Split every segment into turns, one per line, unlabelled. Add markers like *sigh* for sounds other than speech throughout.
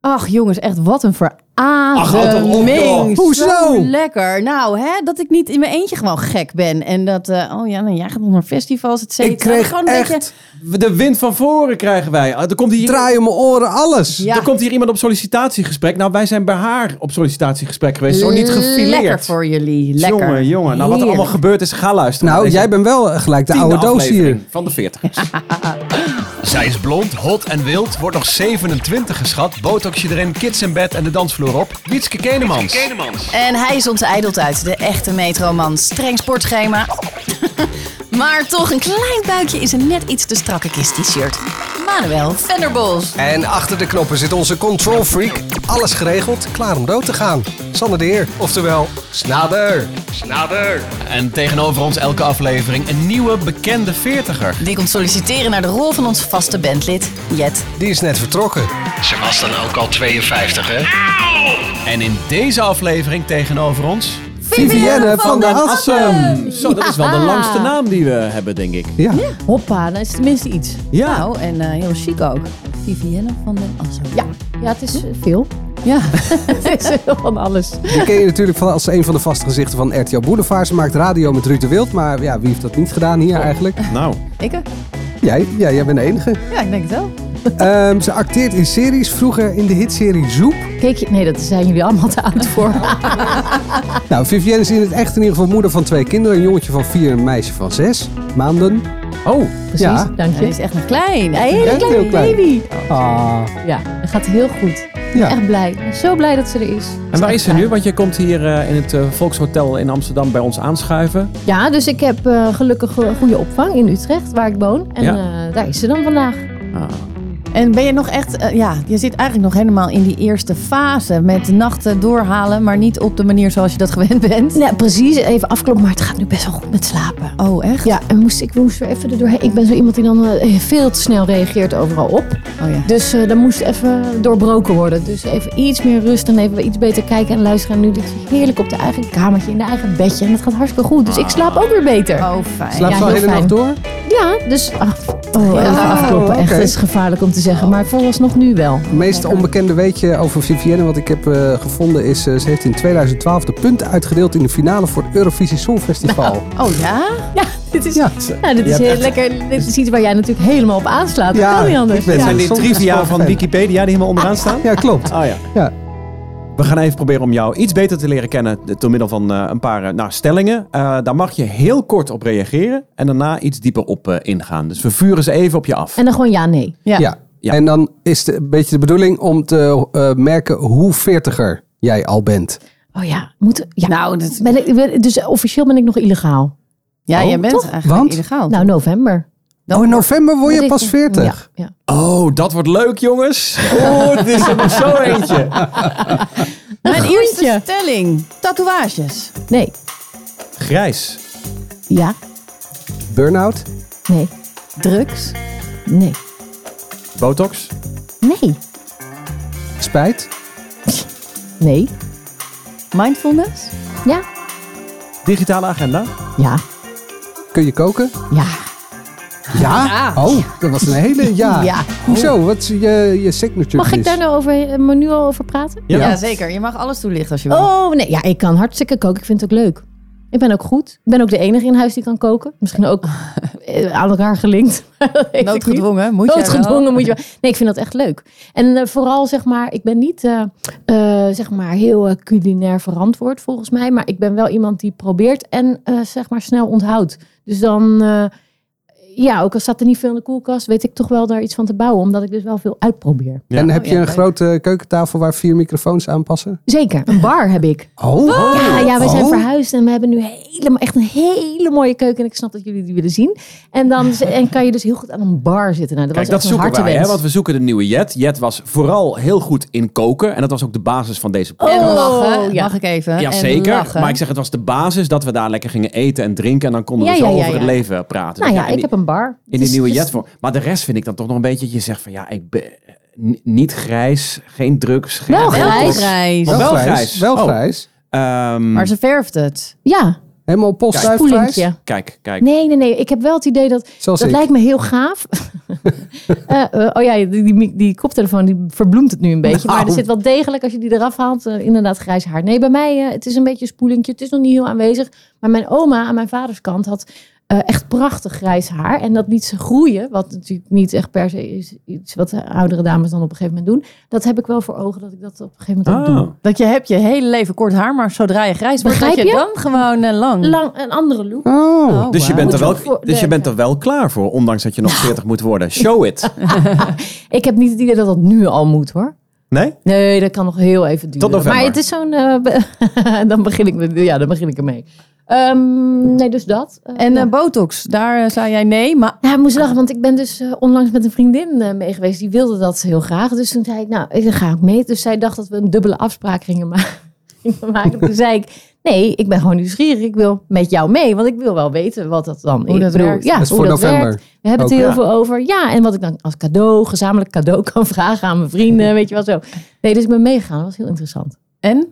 Ach jongens, echt wat een
Ach, houd toch op, joh.
verademing.
Hoezo?
Zo lekker. Nou, hè, dat ik niet in mijn eentje gewoon gek ben. En dat, eh, oh ja, nou, jij gaat nog naar festivals, et cetera.
Ik kreeg
gewoon een beetje...
echt,
De wind van voren krijgen wij. Ah, Er komt hier,
draaien mijn oren, alles.
Ja.
er komt hier iemand op sollicitatiegesprek. Nou, wij zijn bij haar op sollicitatiegesprek geweest. Zo niet gefileerd.
Lekker voor jullie. Lekker.
Jongen, jongen. Nou, wat er
Heerlijk.
allemaal gebeurd is, ga luisteren.
Nou,
naar
jij
deze
bent wel gelijk de
tiende
oude doos
aflevering
hier.
Van de *laughs* 40.
Zij is blond, hot en wild, wordt nog 27 geschat, botoxje erin, kids in bed en de dansvloer op. Wietske Kenemans.
En hij is onteideld uit, de echte metroman. Streng sportschema. *laughs* maar toch een klein buikje is een net iets te strakke kist t-shirt. Manuel Venderbos.
En achter de knoppen zit onze control freak. Alles geregeld, klaar om dood te gaan. Sander de Heer, oftewel Snader. Snader. En tegenover ons elke aflevering een nieuwe bekende veertiger.
Die komt solliciteren naar de rol van ons vaste bandlid, Jet.
Die is net vertrokken. Ze was dan ook al 52, hè? En in deze aflevering tegenover ons...
Vivienne van der Assem.
Zo, dat is wel de
Ja.
langste naam die we hebben, denk ik.
Ja.
Hoppa, dat is tenminste iets.
Ja.
Nou, en eh, heel chic ook.
Vivienne van den Assen.
Ja, ja het is eh, veel.
*laughs*
Ja, het is heel van alles.
Die ken je natuurlijk van, als een van de vaste gezichten van RTL Boulevard. Ze maakt radio met Ruud de Wild, maar ja, wie heeft dat niet gedaan hier
*laughs*
eigenlijk?
Nou,
Ik? eh,
Jij, ja, jij bent de enige.
Ja, ik denk het wel.
Ehm, ze acteert in series, vroeger in de hitserie Zoep.
Keek je... Nee, dat zijn jullie allemaal te oud voor.
Nou, Vivienne is in het echt in ieder geval moeder van twee kinderen. Een jongetje van vier en een meisje van zes maanden.
oh,
Precies,
Ja.
dank je. Hij is echt nog klein. Een hele
Echt
kleine
heel klein.
baby.
Ah,
Ja, het gaat heel goed.
ja.
Echt blij. Ik ben Zo blij dat ze er is.
en waar is ze nu? Want jij komt hier eh, in het eh, Volkshotel in Amsterdam bij ons aanschuiven.
Ja, dus ik heb eh, gelukkig een goede opvang in Utrecht, waar ik woon. En
Ja.
eh, daar is ze dan vandaag.
Ah.
En ben je nog echt, eh, ja, je zit eigenlijk nog helemaal in die eerste fase met nachten doorhalen, maar niet op de manier zoals je dat *laughs* gewend bent.
Nou, precies. Even afkloppen, maar het gaat nu best wel goed met slapen.
Oh, echt?
Ja, en moest, ik moest er even er doorheen. Ik ben zo iemand die dan eh, veel te snel reageert overal op.
Oh ja.
Dus eh dan moest even doorbroken worden. Dus even iets meer rust en even iets beter kijken en luisteren. En nu ligt ze heerlijk op de eigen kamertje, in de eigen bedje. En dat gaat hartstikke goed. Dus ik slaap ook weer beter.
Oh, fijn.
Slaap
Ja,
ze al
heel
de hele nacht
fijn.
door?
Ja, dus... ah, oh, even
Ja.
afkloppen. Echt,
Oké.
dat is gevaarlijk om te zeggen. Maar vooralsnog nu wel.
Het meest onbekende weetje over Vivienne wat ik heb eh, gevonden is... eh, ze heeft in 2012 de punten uitgedeeld in de finale voor het Eurovisie Songfestival.
*laughs*
Oh ja?
*laughs* Ja, dit is...
Ja,
Nou, dit
Je
is
hebt
heel
echt-
lekker. Dit is iets waar jij natuurlijk helemaal op aanslaat. Dat
Ja,
kan niet anders.
ik ben-
Ja.
Zijn die
Soms is het
trivia
wel
van
fijn.
Wikipedia die helemaal onderaan staan?
ja klopt.
Ah.
Oh ja.
Ja.
We gaan even proberen om jou iets beter te leren kennen eh, door middel van eh, een paar eh, nou, stellingen. Eh, daar mag je heel kort op reageren en daarna iets dieper op eh, ingaan. Dus we vuren ze even op je af.
En dan gewoon ja, nee.
Ja.
Ja.
Ja.
En dan is het een beetje de bedoeling om te eh, merken hoe veertiger jij al bent.
Oh ja, moet, ja. Nou, ben ik, ben- dus officieel ben ik nog illegaal.
Ja,
Oh,
jij bent
toch?
eigenlijk
Want?
illegaal. Nou,
Nou, november.
oh, in november word je
Moet
pas
ik-
40.
Ja, ja.
Oh, dat wordt leuk, jongens. Oh, dit is er nog zo eentje.
Mijn
groentje.
eerste stelling. Tatoeages.
Nee.
Grijs.
Ja.
Burnout?
Nee.
Drugs.
Nee.
Botox.
Nee.
Spijt?
Nee.
Mindfulness.
Ja.
Digitale agenda.
Ja.
Kun je koken?
Ja.
Ja? Oh, dat was een
*laughs*
hele ja.
Ja.
Hoezo? Wat is je, je signature
Mag ik
dish?
daar nou over, maar nu al over praten?
Ja.
Ja, zeker. Je mag alles toelichten als je wil.
Oh, nee. Ja, ik kan hartstikke koken. Ik vind het ook leuk. Ik ben ook goed. Ik ben ook de enige in huis die kan koken. Misschien
*laughs*
ook eh, aan elkaar gelinkt. *laughs* Dat weet ik niet.
Noodgedwongen. Moet je
Noodgedwongen moet je wel. Nee, ik vind dat echt leuk. En eh, vooral zeg maar, ik ben niet eh, eh, zeg maar heel eh, culinair verantwoord volgens mij. Maar ik ben wel iemand die probeert en eh, zeg maar snel onthoudt. Dus dan, eh, ja, ook al staat er niet veel in de koelkast, weet ik toch wel daar iets van te bouwen. Omdat ik dus wel veel
*laughs*
uitprobeer.
Ja.
En heb
Oh,
je
ja,
een
leuk.
grote keukentafel waar vier microfoons aan passen?
Zeker, een bar heb ik.
Oh,
Ja, ja, we zijn
Oh.
verhuisd en we hebben nu helemaal, echt een hele mooie keuken. En ik snap dat jullie die willen zien. En dan en kan je dus heel goed aan een bar zitten. Nou, dat
Kijk,
was
dat
echt een
zoeken wij, hè,
hartewens.
want we zoeken de nieuwe Jet. Jet was vooral heel goed in koken. En dat was ook de basis van deze podcast.
En
Oh,
lachen.
ja.
Mag ik
Oh,
even?
Ja,
En
zeker.
lachen.
Maar ik zeg, het was de basis dat we daar lekker gingen eten en drinken. En dan konden we
Ja,
zo
ja, ja,
over het
ja.
leven praten.
Nou
Dus
ja,
in
ik
die-
heb een bar.
In die
Dus-
nieuwe
dus-
jet vorm. Maar de rest vind ik dan toch nog een beetje dat je zegt van ja, ik ben eh, ni- niet grijs, geen drugs, geen
Wel
alcohol.
grijs.
Grijs.
Wel
Wel
grijs.
grijs. Wel
Oh.
grijs.
Ehm,
Maar ze verft het.
Ja,
Helemaal op post zuiverprijs?
Poelentje.
Kijk, kijk.
Nee, nee, nee. Ik heb wel het idee dat...
Zelfs
dat
ik.
lijkt me heel gaaf. *laughs* Eh, eh, oh ja, die, die, die koptelefoon die verbloemt het nu een beetje. Maar er
Nou.
zit wel degelijk, als je die eraf haalt, eh, inderdaad grijs haar. Nee, bij mij, eh, het is een beetje een spoelingje. Het is nog niet heel aanwezig. Maar mijn oma aan mijn vaders kant had eh, echt prachtig grijs haar. En dat liet ze groeien. Wat natuurlijk niet echt per se is iets wat de oudere dames dan op een gegeven moment doen. Dat heb ik wel voor ogen dat ik dat op een gegeven moment ook doe.
Ah,
Dat je hebt je hele leven kort haar, maar zodra je grijs wordt, dat
Begrijp
je
je?
dan gewoon eh, lang.
Lang, een andere look.
Oh.
Oh,
dus, je
wauw.
bent er wel,
Moet je voor-
dus je bent er wel klaar voor, ondanks dat je nog 40 moet worden. Show it.
Ik heb niet het idee dat dat nu al moet hoor.
Nee?
Nee, dat kan nog heel even duren.
november.
Maar het is zo'n... eh, *laughs* be- dan, begin ik met, ja, dan begin ik ermee. Ehm, nee, dus dat. Eh,
En
ja.
eh, botox, daar eh, zei jij nee, maar
Ja, ik moest lachen, want ik ben dus eh, onlangs met een vriendin eh, mee geweest. Die wilde dat heel graag. Dus toen zei ik, nou, ik ga ook mee. Dus zij dacht dat we een dubbele afspraak gingen ma- *laughs* gingen maken. Toen zei ik, nee, ik ben gewoon nieuwsgierig. Ik wil met jou mee, want ik wil wel weten wat dat dan
Hoe dat
ik bedoel,
werkt.
Ja,
Dat is
hoe
voor
dat
november.
werkt. We hebben het
Ook,
heel
ja.
veel over. Ja, en wat ik dan als cadeau, gezamenlijk cadeau kan *laughs* vragen aan mijn vrienden. Weet je wel zo. Nee, dus ik ben meegegaan. Dat was heel interessant.
en?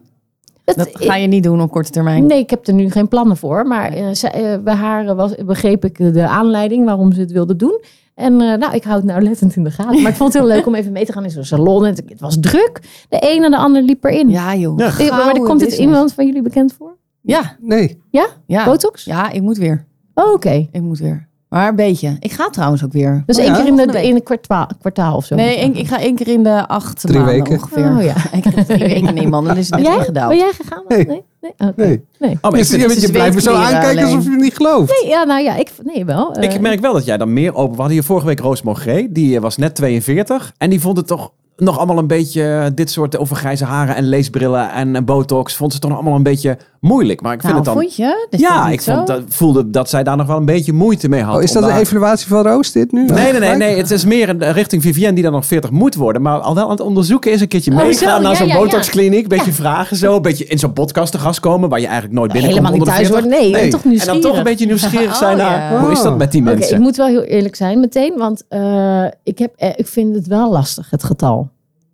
Het-
Dat ga je niet doen op korte termijn.
Nee, ik heb er nu geen plannen voor. Maar eh, zij- eh, bij haar eh, was, begreep ik de aanleiding waarom ze het wilde doen. En eh, nou, ik hou het nauwlettend in de gaten. Maar ik vond het heel leuk om even mee te gaan in zo'n salon. En het, het was druk. De een en de ander liep erin.
Ja joh.
Ja.
Eh, maar er komt
Gouden
dit
business.
iemand van jullie bekend voor?
Ja,
Oh,
Nee.
ja.
Botox?
Ja, ik moet weer.
Oh, Oké.
Ik moet weer. Maar een beetje. Ik ga trouwens ook weer.
Dus
Oh,
één
ja?
keer in, de,
Volgende week.
in een kwartaal, kwartaal of zo.
Nee, één- ik ga één keer in de acht
Drie
maanden
weken.
ongeveer. Oh
Oh,
*laughs*
ja.
Ik heb drie weken in man, dan is het net
Jij?
ingedouwd.
Ben jij gegaan?
Nee.
Nee. nee? Oké.
Nee.
Oh, maar ik,
Dus je,
vind-
je blijft me zo
zweetkleren
aankijken
alleen.
alsof je het niet gelooft.
Nee, Ja, nou ja, ik nee wel. Eh,
ik merk wel dat jij dan meer open... We hadden hier vorige week Roos Mogré. Die eh, was net 42. En die vond het toch nog allemaal een beetje... eh, Dit soort over grijze haren en leesbrillen en eh, botox... Vond ze toch nog allemaal een beetje moeilijk. Maar ik vind
Nou,
het dan...
vond je? Dat is toch
ja,
niet
ik
zo?
vond, dat, voelde dat zij daar nog wel een beetje moeite mee had.
Oh, is dat
om
een
daar-
evaluatie van Roos dit nu?
Nee, nee, nee, nee. Het is meer een, eh, richting Vivienne die dan nog 40 moet worden. Maar al wel aan het onderzoeken is een keertje
Oh,
meegaan
zo,
naar
ja,
zo'n
ja, ja.
botoxkliniek. Beetje vragen zo. Beetje in zo'n podcast te gast komen waar je eigenlijk nooit binnenkomt.
helemaal niet
onder de
thuis
40.
worden. Nee, ik ben
Nee.
toch
En dan
nieuwsgierig.
toch een beetje nieuwsgierig zijn
Oh,
naar
ja.
hoe is dat met die
Oké,
mensen?
ik moet wel heel eerlijk zijn meteen, want eh, ik, heb, eh, ik vind het wel lastig, het getal.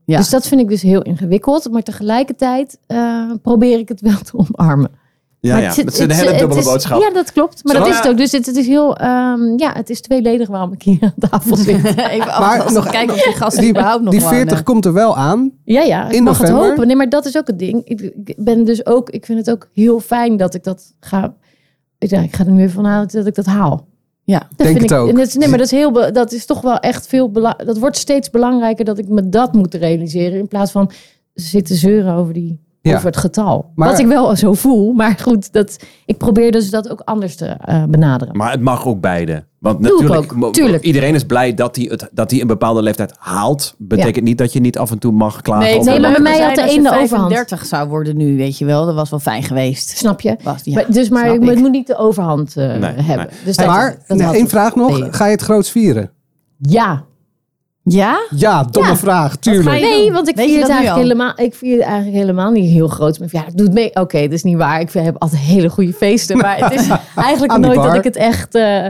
Ja.
Dus dat vind ik dus heel ingewikkeld. Maar tegelijkertijd eh, probeer ik het wel te omarmen.
Ja,
maar
ja.
het zit-
Dat is een
het-
hele
het
dubbele
is-
boodschap.
Ja, dat klopt. Maar
Zo,
dat is
ja.
het ook. Dus het, het is heel, ehm, ja, het is tweeledig waarom ik hier aan
*laughs*
tafel zit.
*laughs* Even
Maar
afwachten,
nog-
kijken of die gast
Die,
überhaupt nog
die
wonen.
eh,
40 komt er wel aan.
ja, ja, ik
In
mag het
november?
hopen. Nee, maar dat is ook het ding. Ik, ik ben dus ook, ik vind het ook heel fijn dat ik dat ga. Ja, ik ga er nu even vanuit dat ik dat haal.
Ja.
Dat
Denk
vind
het
ik,
ook.
en dat is- nee, maar dat is, heel, be- dat is toch wel echt veel bela- Dat wordt steeds belangrijker dat ik me dat moet realiseren. In plaats van zitten zeuren over, die,
Ja.
over het getal.
Maar-
Wat ik wel zo voel. Maar goed, dat, ik probeer dus dat ook anders te eh, benaderen.
Maar het mag ook beide. Want
Doe ik
natuurlijk,
ook,
mo-
tuurlijk.
iedereen is blij dat hij, het, dat hij een bepaalde leeftijd haalt. Betekent niet dat je niet af en toe mag klagen.
Nee,
over
nee, maar
de-
bij mij had de
als je
een de overhand.
35 zou worden nu, weet je wel. Dat was wel fijn geweest.
Snap je?
*laughs* Was, ja,
Maar- dus maar
snap
ik- het moet niet de overhand eh,
Nee,
hebben. Dus dat,
maar
dat
nee,
had
één
ik.
vraag
Nee.
nog. Ga je het groots vieren?
Ja.
Ja?
Ja, domme
Ja.
vraag.
ga
Tuurlijk.
je-
Nee,
doen?
want ik
Weet je
vier, het
dat nu
eigenlijk
al?
helemaal, ik vier het eigenlijk helemaal niet heel groot. Maar ja, ik doe het mee. Oké, dat is niet waar. Ik vind- heb altijd hele goede feesten. Maar het
*laughs*
is eigenlijk
Aan die
nooit
bar.
dat ik het echt eh,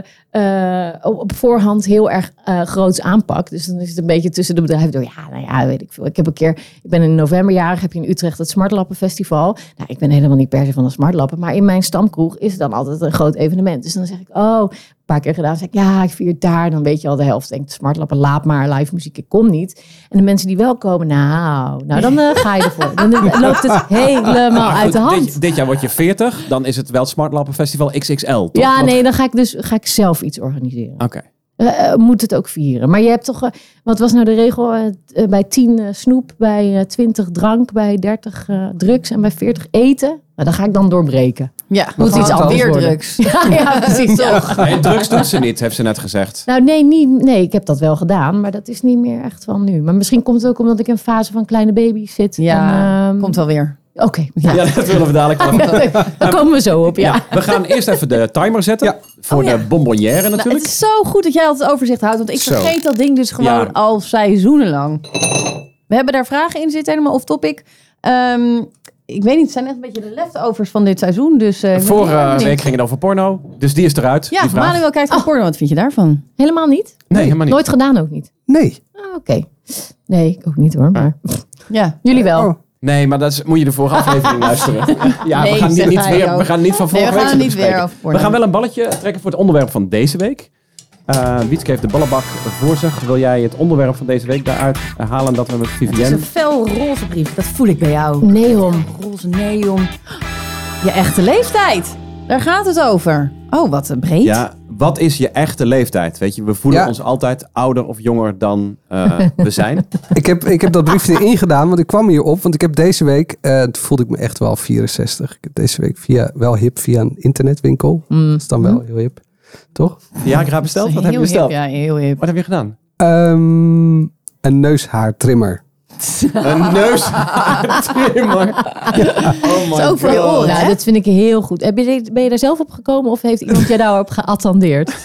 eh, op op voorhand heel erg groot groots aanpak. Dus dan is het een beetje tussen de bedrijven door. Ja, nou ja, weet ik veel. Ik heb een keer, ik ben in november jarig, heb je in Utrecht het Smartlappenfestival. Nou, ik ben helemaal niet per se van de Smartlappen. Maar in mijn stamkroeg is het dan altijd een groot evenement. Dus dan zeg ik, oh, een paar keer gedaan. Zeg ik, ja, ik vier het daar. Dan weet je al de helft. Denk, smartlappen, laat maar. Live muziek, ik kom niet. En de mensen die wel komen, nou, nou dan eh, ga je ervoor. Dan eh, loopt
*laughs*
het helemaal
Maar
uit de
goed,
hand.
Dit, dit jaar word je 40, dan is het wel het Smart Lappen Festival XXL. toch?
ja,
Want-
nee, dan ga ik dus ga ik zelf iets organiseren.
Oké.
Eh, eh, moet het ook vieren. Maar je hebt toch, eh, wat was nou de regel? Eh, t- eh, bij 10 eh, snoep, bij eh 20 drank, bij 30 eh, drugs en bij 40 eten. Nou, dan ga ik dan doorbreken.
Ja.
Moet iets
gaat het
anders
Weer
worden.
drugs.
Ja,
*laughs*
ja, precies toch.
Nee, drugs doet ze niet, heeft ze net gezegd.
Nou, nee, niet, nee, ik heb dat wel gedaan, maar dat is niet meer echt van nu. Maar misschien komt het ook omdat ik in een fase van kleine baby's zit.
Ja,
en, ehm,
komt wel weer.
Oké, *laughs* ja.
Ja, dat willen we dadelijk wel.
daar komen we zo op, ja.
Ja, we gaan eerst even de timer zetten.
Ja.
Voor
Oh, ja.
de bonbonnière natuurlijk.
Nou, het is zo goed dat jij altijd overzicht houdt. Want ik
Zo.
vergeet dat ding dus gewoon
Ja.
al seizoenenlang. We hebben daar vragen in zitten, helemaal off topic. Ehm, ik weet niet, het zijn echt een beetje de leftovers van dit seizoen. Dus, eh, ik ben
Vorige
heel benieuwd.
week ging het over porno, dus die is eruit.
Ja,
die vraag.
Manuel kijkt naar porno. Wat vind je daarvan?
Helemaal niet?
Nee, helemaal niet.
Nooit gedaan ook niet?
Nee.
Ah, Oké. Nee, ik ook niet hoor, maar
Ja.
jullie wel.
Oh.
Nee, maar dat is- moet je de vorige
*laughs*
aflevering luisteren. Ja,
Nee,
we, gaan niet,
zeg
niet
hij
weer,
ook.
we gaan niet van
Nee, we
vorige
gaan
week
er niet
bespreken.
weer over
We gaan wel een balletje trekken voor het onderwerp van deze week. Eh Wietske heeft de ballenbak voor zich. Wil jij het onderwerp van deze week daaruit halen dat we met
Het is
Vivienne...
een fel roze brief. Dat voel ik bij jou.
Neon.
Roze neon.
Je echte leeftijd. Daar gaat het over. Oh, wat eh, breed.
Ja, wat is je echte leeftijd? Weet je, we voelen
Ja.
ons altijd ouder of jonger dan eh, we zijn.
Ik heb, ik heb dat briefje ingedaan, want ik kwam hierop. Want ik heb deze week, eh, toen voelde ik me echt wel 64. Ik heb deze week via, wel hip via een internetwinkel.
Mm.
Dat is dan wel heel hip, toch?
Viagra besteld? Wat heb je
Heel hip,
besteld?
ja, heel hip.
Wat heb je gedaan?
Ehm, een neushaartrimmer.
Een neus. *laughs* Trimmer. Oh my
is ook voor je
God.
oren.
Nou,
hè?
dat vind ik heel goed. Heb je, dit- ben je daar zelf op gekomen of heeft iemand je daarop geattendeerd?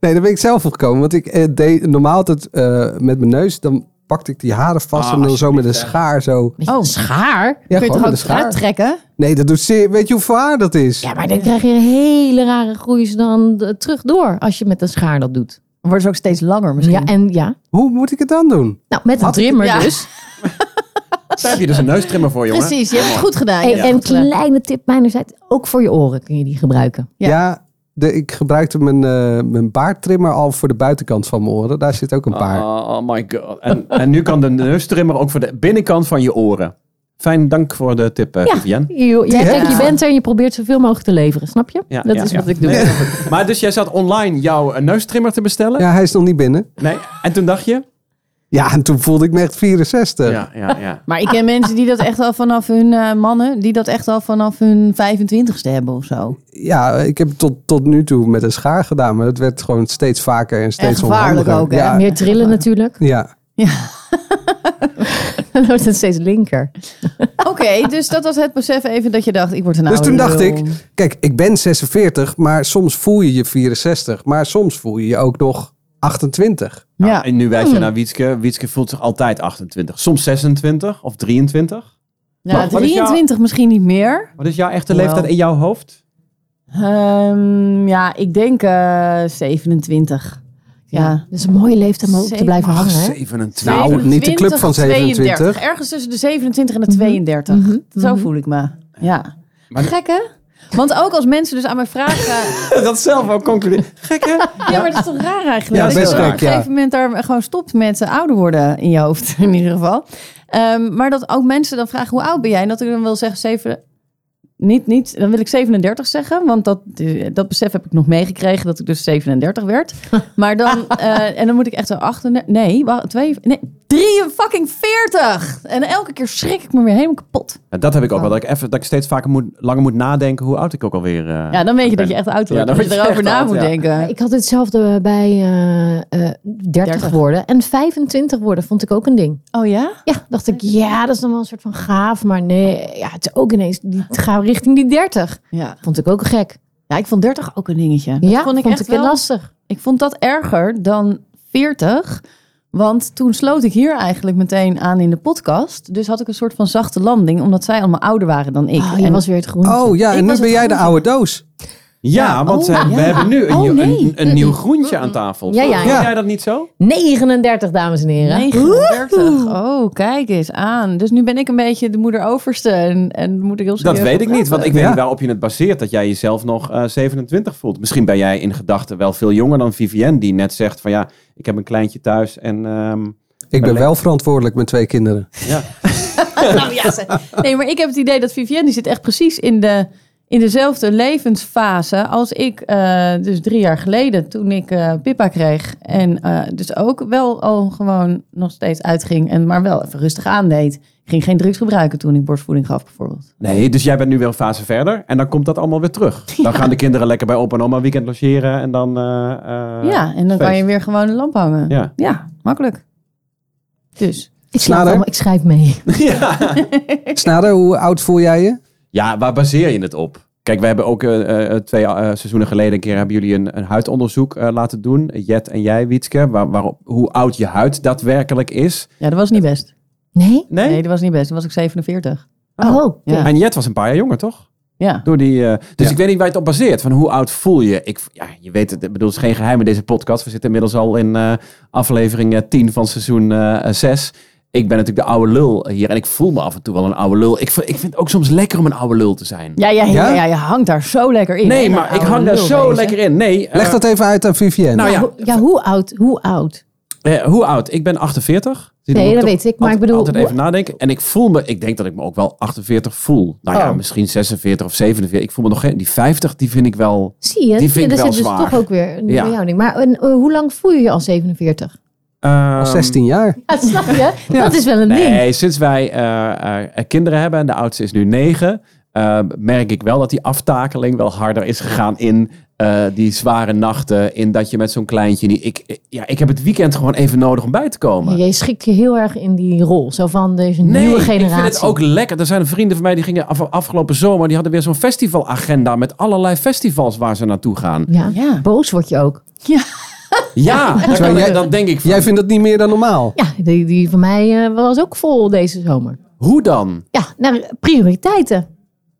Nee, daar ben ik zelf op gekomen. Want ik eh, deed normaal altijd eh, met mijn neus, dan pakte ik die haren vast
Ah,
en dan zo met een
alsjeblieft, hè.
schaar zo.
Met je
Oh.
schaar?
Ja,
Kun je
gewoon
toch
met een
ook
schaar.
uittrekken?
Nee, dat doet zeer. Weet je hoeveel haar dat is?
Ja, maar dan krijg je hele rare groei's dan eh, terug door als je met een schaar dat doet.
Wordt ze ook steeds langer misschien.
Ja, en ja.
Hoe moet ik het dan doen?
Nou, met een
Had ik-
trimmer
Ja. *laughs*
dus.
Daar heb je dus een neustrimmer voor, jongen.
Precies, je hebt het goed gedaan. je
En,
hebt het
en
goed gedaan.
kleine tip mijnerzijds, ook voor je oren kun je die gebruiken.
Ja.
Ja, de, ik gebruikte mijn, eh, mijn baardtrimmer al voor de buitenkant van mijn oren. Daar zit ook een paar.
Oh my god. En, en nu kan de neustrimmer ook voor de binnenkant van je oren. Fijn, dank voor de tip, eh,
Ja.
Vivienne.
Je,
Ja.
jij, kijk, je bent er en je probeert zoveel mogelijk te leveren, snap je?
Ja,
dat
ja,
is
ja.
wat ik doe.
Nee, dat snap ik. Maar dus jij zat online jouw eh, neustrimmer te bestellen?
Ja, hij is nog niet binnen.
Nee. En toen dacht je?
Ja, en toen voelde ik me echt 64.
ja, ja.
Maar ik ken mensen die dat echt al vanaf hun eh, mannen, die dat echt al vanaf hun 25ste hebben of zo.
Ja, ik heb het tot, tot nu toe met een schaar gedaan, maar het werd gewoon steeds vaker en steeds
gevaarlijk
onhandiger.
ook, hè?
Ja,
Meer trillen natuurlijk. *laughs*
ja.
Dan wordt het steeds linker.
*laughs* Oké, dus dat was het besef even dat je dacht, ik word een
Dus
oude
toen dacht
lul.
ik, kijk, ik ben 46, maar soms voel je je 64, maar soms voel je je ook nog
Ja.
28.
Nou,
Hmm.
En nu wijs je naar Wietske. Wietske voelt zich altijd 28. Soms 26 of 23.
Nou,
Wat- wat is jouw-
23 misschien niet meer.
Wat is jouw echte
Wel.
leeftijd in jouw hoofd?
Ehm, ja, ik denk eh, 27. Ja. Ah,
Dat is een mooie leeftijd om ook te
Zeven.
blijven hangen. Hè?
27.
Nou, niet de club van
32.
27.
Ergens tussen de 27 en de 32.
Mhm.
Zo
Mhm.
voel ik me. Ja.
Maar-
Gek hè? Want ook als mensen dus aan mij
*laughs*
vragen...
Nou,
*laughs*
dat zelf ook concluderen. Gek hè?
ja, maar dat is toch raar eigenlijk?
Ja,
dat je
best
dan op
gek,
een
ja.
gegeven moment daar gewoon stopt met eh, ouder worden in je hoofd. *laughs* In ieder geval. Ehm, maar dat ook mensen dan vragen, hoe oud ben jij? En dat ik dan wil zeggen, zeven... Niet, niet, dan wil ik 37 zeggen, want dat, eh, dat besef heb ik nog meegekregen dat ik dus 37 werd.
*laughs*
Maar dan, eh, en dan moet ik echt zo achter. Nee, wacht, twee, nee, 3 fucking 40! En elke keer schrik ik me weer helemaal kapot.
Ja, dat heb
Oh.
ik ook wel. Dat ik, even, dat ik steeds vaker moet, langer moet nadenken hoe oud ik ook alweer eh
Ja, dan weet je dat
ben.
je echt oud
Ja,
wordt.
dan
dat je
word je
erover
echt
na
oud,
moet
ja.
denken.
Ik had hetzelfde bij eh, eh, 30,
30.
worden. En 25 worden vond ik ook een ding.
Oh ja?
Ja, dacht ik, ja, dat is dan wel een soort van gaaf. Maar nee, ja, het is ook ineens, die, het gaat richting die 30.
Ja.
Vond ik ook gek.
Ja, ik vond 30 ook een dingetje. Dat
Ja,
vond ik echt
heel
wel-
lastig.
Ik vond dat erger dan 40. Want toen sloot ik hier eigenlijk meteen aan in de podcast. Dus had ik een soort van zachte landing, omdat zij allemaal ouder waren dan ik.
Oh, je
En-
was weer het groen.
Oh ja,
Ik
en nu
was
ben
het
jij de
groentje.
oude doos.
Ja, want
oh,
eh, we
ja.
hebben nu een,
Oh,
nieuw-
nee.
een, een nieuw groentje aan tafel.
Ja, ja,
Vond
ja.
jij dat niet zo?
39, dames en heren.
39. Oh, kijk eens aan. Dus nu ben ik een beetje de moeder overste en, en moet ik heel
Dat
serieus
weet ik niet, want ik weet
Ja.
niet waarop je het baseert dat jij jezelf nog eh, 27 voelt. Misschien ben jij in gedachten wel veel jonger dan Vivienne, die net zegt van ja, ik heb een kleintje thuis en ehm,
Ik ben wel verantwoordelijk met twee kinderen.
ja.
Nou ja, ze- nee, maar ik heb het idee dat Vivienne die zit echt precies in, de, in dezelfde levensfase als ik. eh, dus drie jaar geleden toen ik eh, Pippa kreeg. En eh, dus ook wel al gewoon nog steeds uitging. En maar wel even rustig aandeed. Ik ging geen drugs gebruiken toen ik borstvoeding gaf bijvoorbeeld.
Nee, dus jij bent nu weer een fase verder en dan komt dat allemaal weer *laughs* terug. Dan gaan de kinderen lekker bij opa en oma weekend logeren en dan... eh, eh,
ja, en dan kan
feest.
je weer gewoon een lamp hangen.
Ja.
makkelijk. Dus.
Ik,
Snader?
slaap allemaal, ik schrijf mee.
*laughs* ja.
Snader, hoe oud voel jij je?
Ja, waar baseer je het op? Kijk, we hebben ook eh, eh, twee eh, seizoenen geleden een keer hebben jullie een, een huidonderzoek eh, laten doen. Jet en jij, Wietske. Waar, waarop, hoe oud je huid daadwerkelijk is.
Ja, dat was niet best.
Nee?
Nee?
Nee, dat was niet best. Toen was ik 47.
Oh, oké.
Ja.
En Jet was een paar jaar jonger, toch?
Ja.
Door die, eh, dus
Ja.
ik weet niet waar je het op baseert. Van hoe oud voel je? Ik, ja, je weet het. Ik bedoel, het is geen geheim in deze podcast. We zitten inmiddels al in eh, aflevering eh, 10 van seizoen eh 6. ik ben natuurlijk de oude lul hier en ik voel me af en toe wel een oude lul. Ik, v- ik vind het ook soms lekker om een oude lul te zijn.
Ja, ja, ja,
Ja?
ja, je hangt daar zo lekker in.
nee,
hè,
maar
dat
ik
oude
hang daar
lul
zo
wezen.
lekker in. Nee,
Leg
eh,
dat even uit aan Vivienne.
Nou ja,
Ho- ja, hoe oud? Hoe oud?
eh, hoe oud? Ik ben 48. Zie, dan
Nee,
moet
dat
toch
weet ik, maar ik
altijd-
bedoel-
Altijd even nadenken. En ik voel me, ik denk dat ik me ook wel 48 voel. Nou ja,
Oh.
misschien 46 of 47. Ik voel me nog geen, die 50 die vind ik wel...
Zie je?
Die vind ik
er
wel
zit
zwaar.
dus toch ook weer een
Ja.
verhouding. Maar en, eh, hoe lang voel je je al 47?
ehm,
Al 16 jaar.
*laughs* Ja, dat snap je? Dat is wel een ding.
Nee, sinds wij eh, eh, eh, kinderen hebben, en de oudste is nu negen, eh, merk ik wel dat die aftakeling wel harder is gegaan in eh, die zware nachten. In dat je met zo'n kleintje niet. Ik, eh, ja, ik heb het weekend gewoon even nodig om bij te komen.
Je schikt je heel erg in die rol. Zo van deze nieuwe generatie.
ik vind het ook lekker. Er zijn vrienden van mij die gingen af, afgelopen zomer. Die hadden weer zo'n festivalagenda met allerlei festivals waar ze naartoe gaan.
Ja.
Ja.
Boos word je ook.
Ja, dan, kan
jij-
ik- dan denk ik van,
Jij vindt dat niet meer dan normaal?
Ja, die, die van mij eh, was ook vol deze zomer.
hoe dan?
Ja, naar prioriteiten.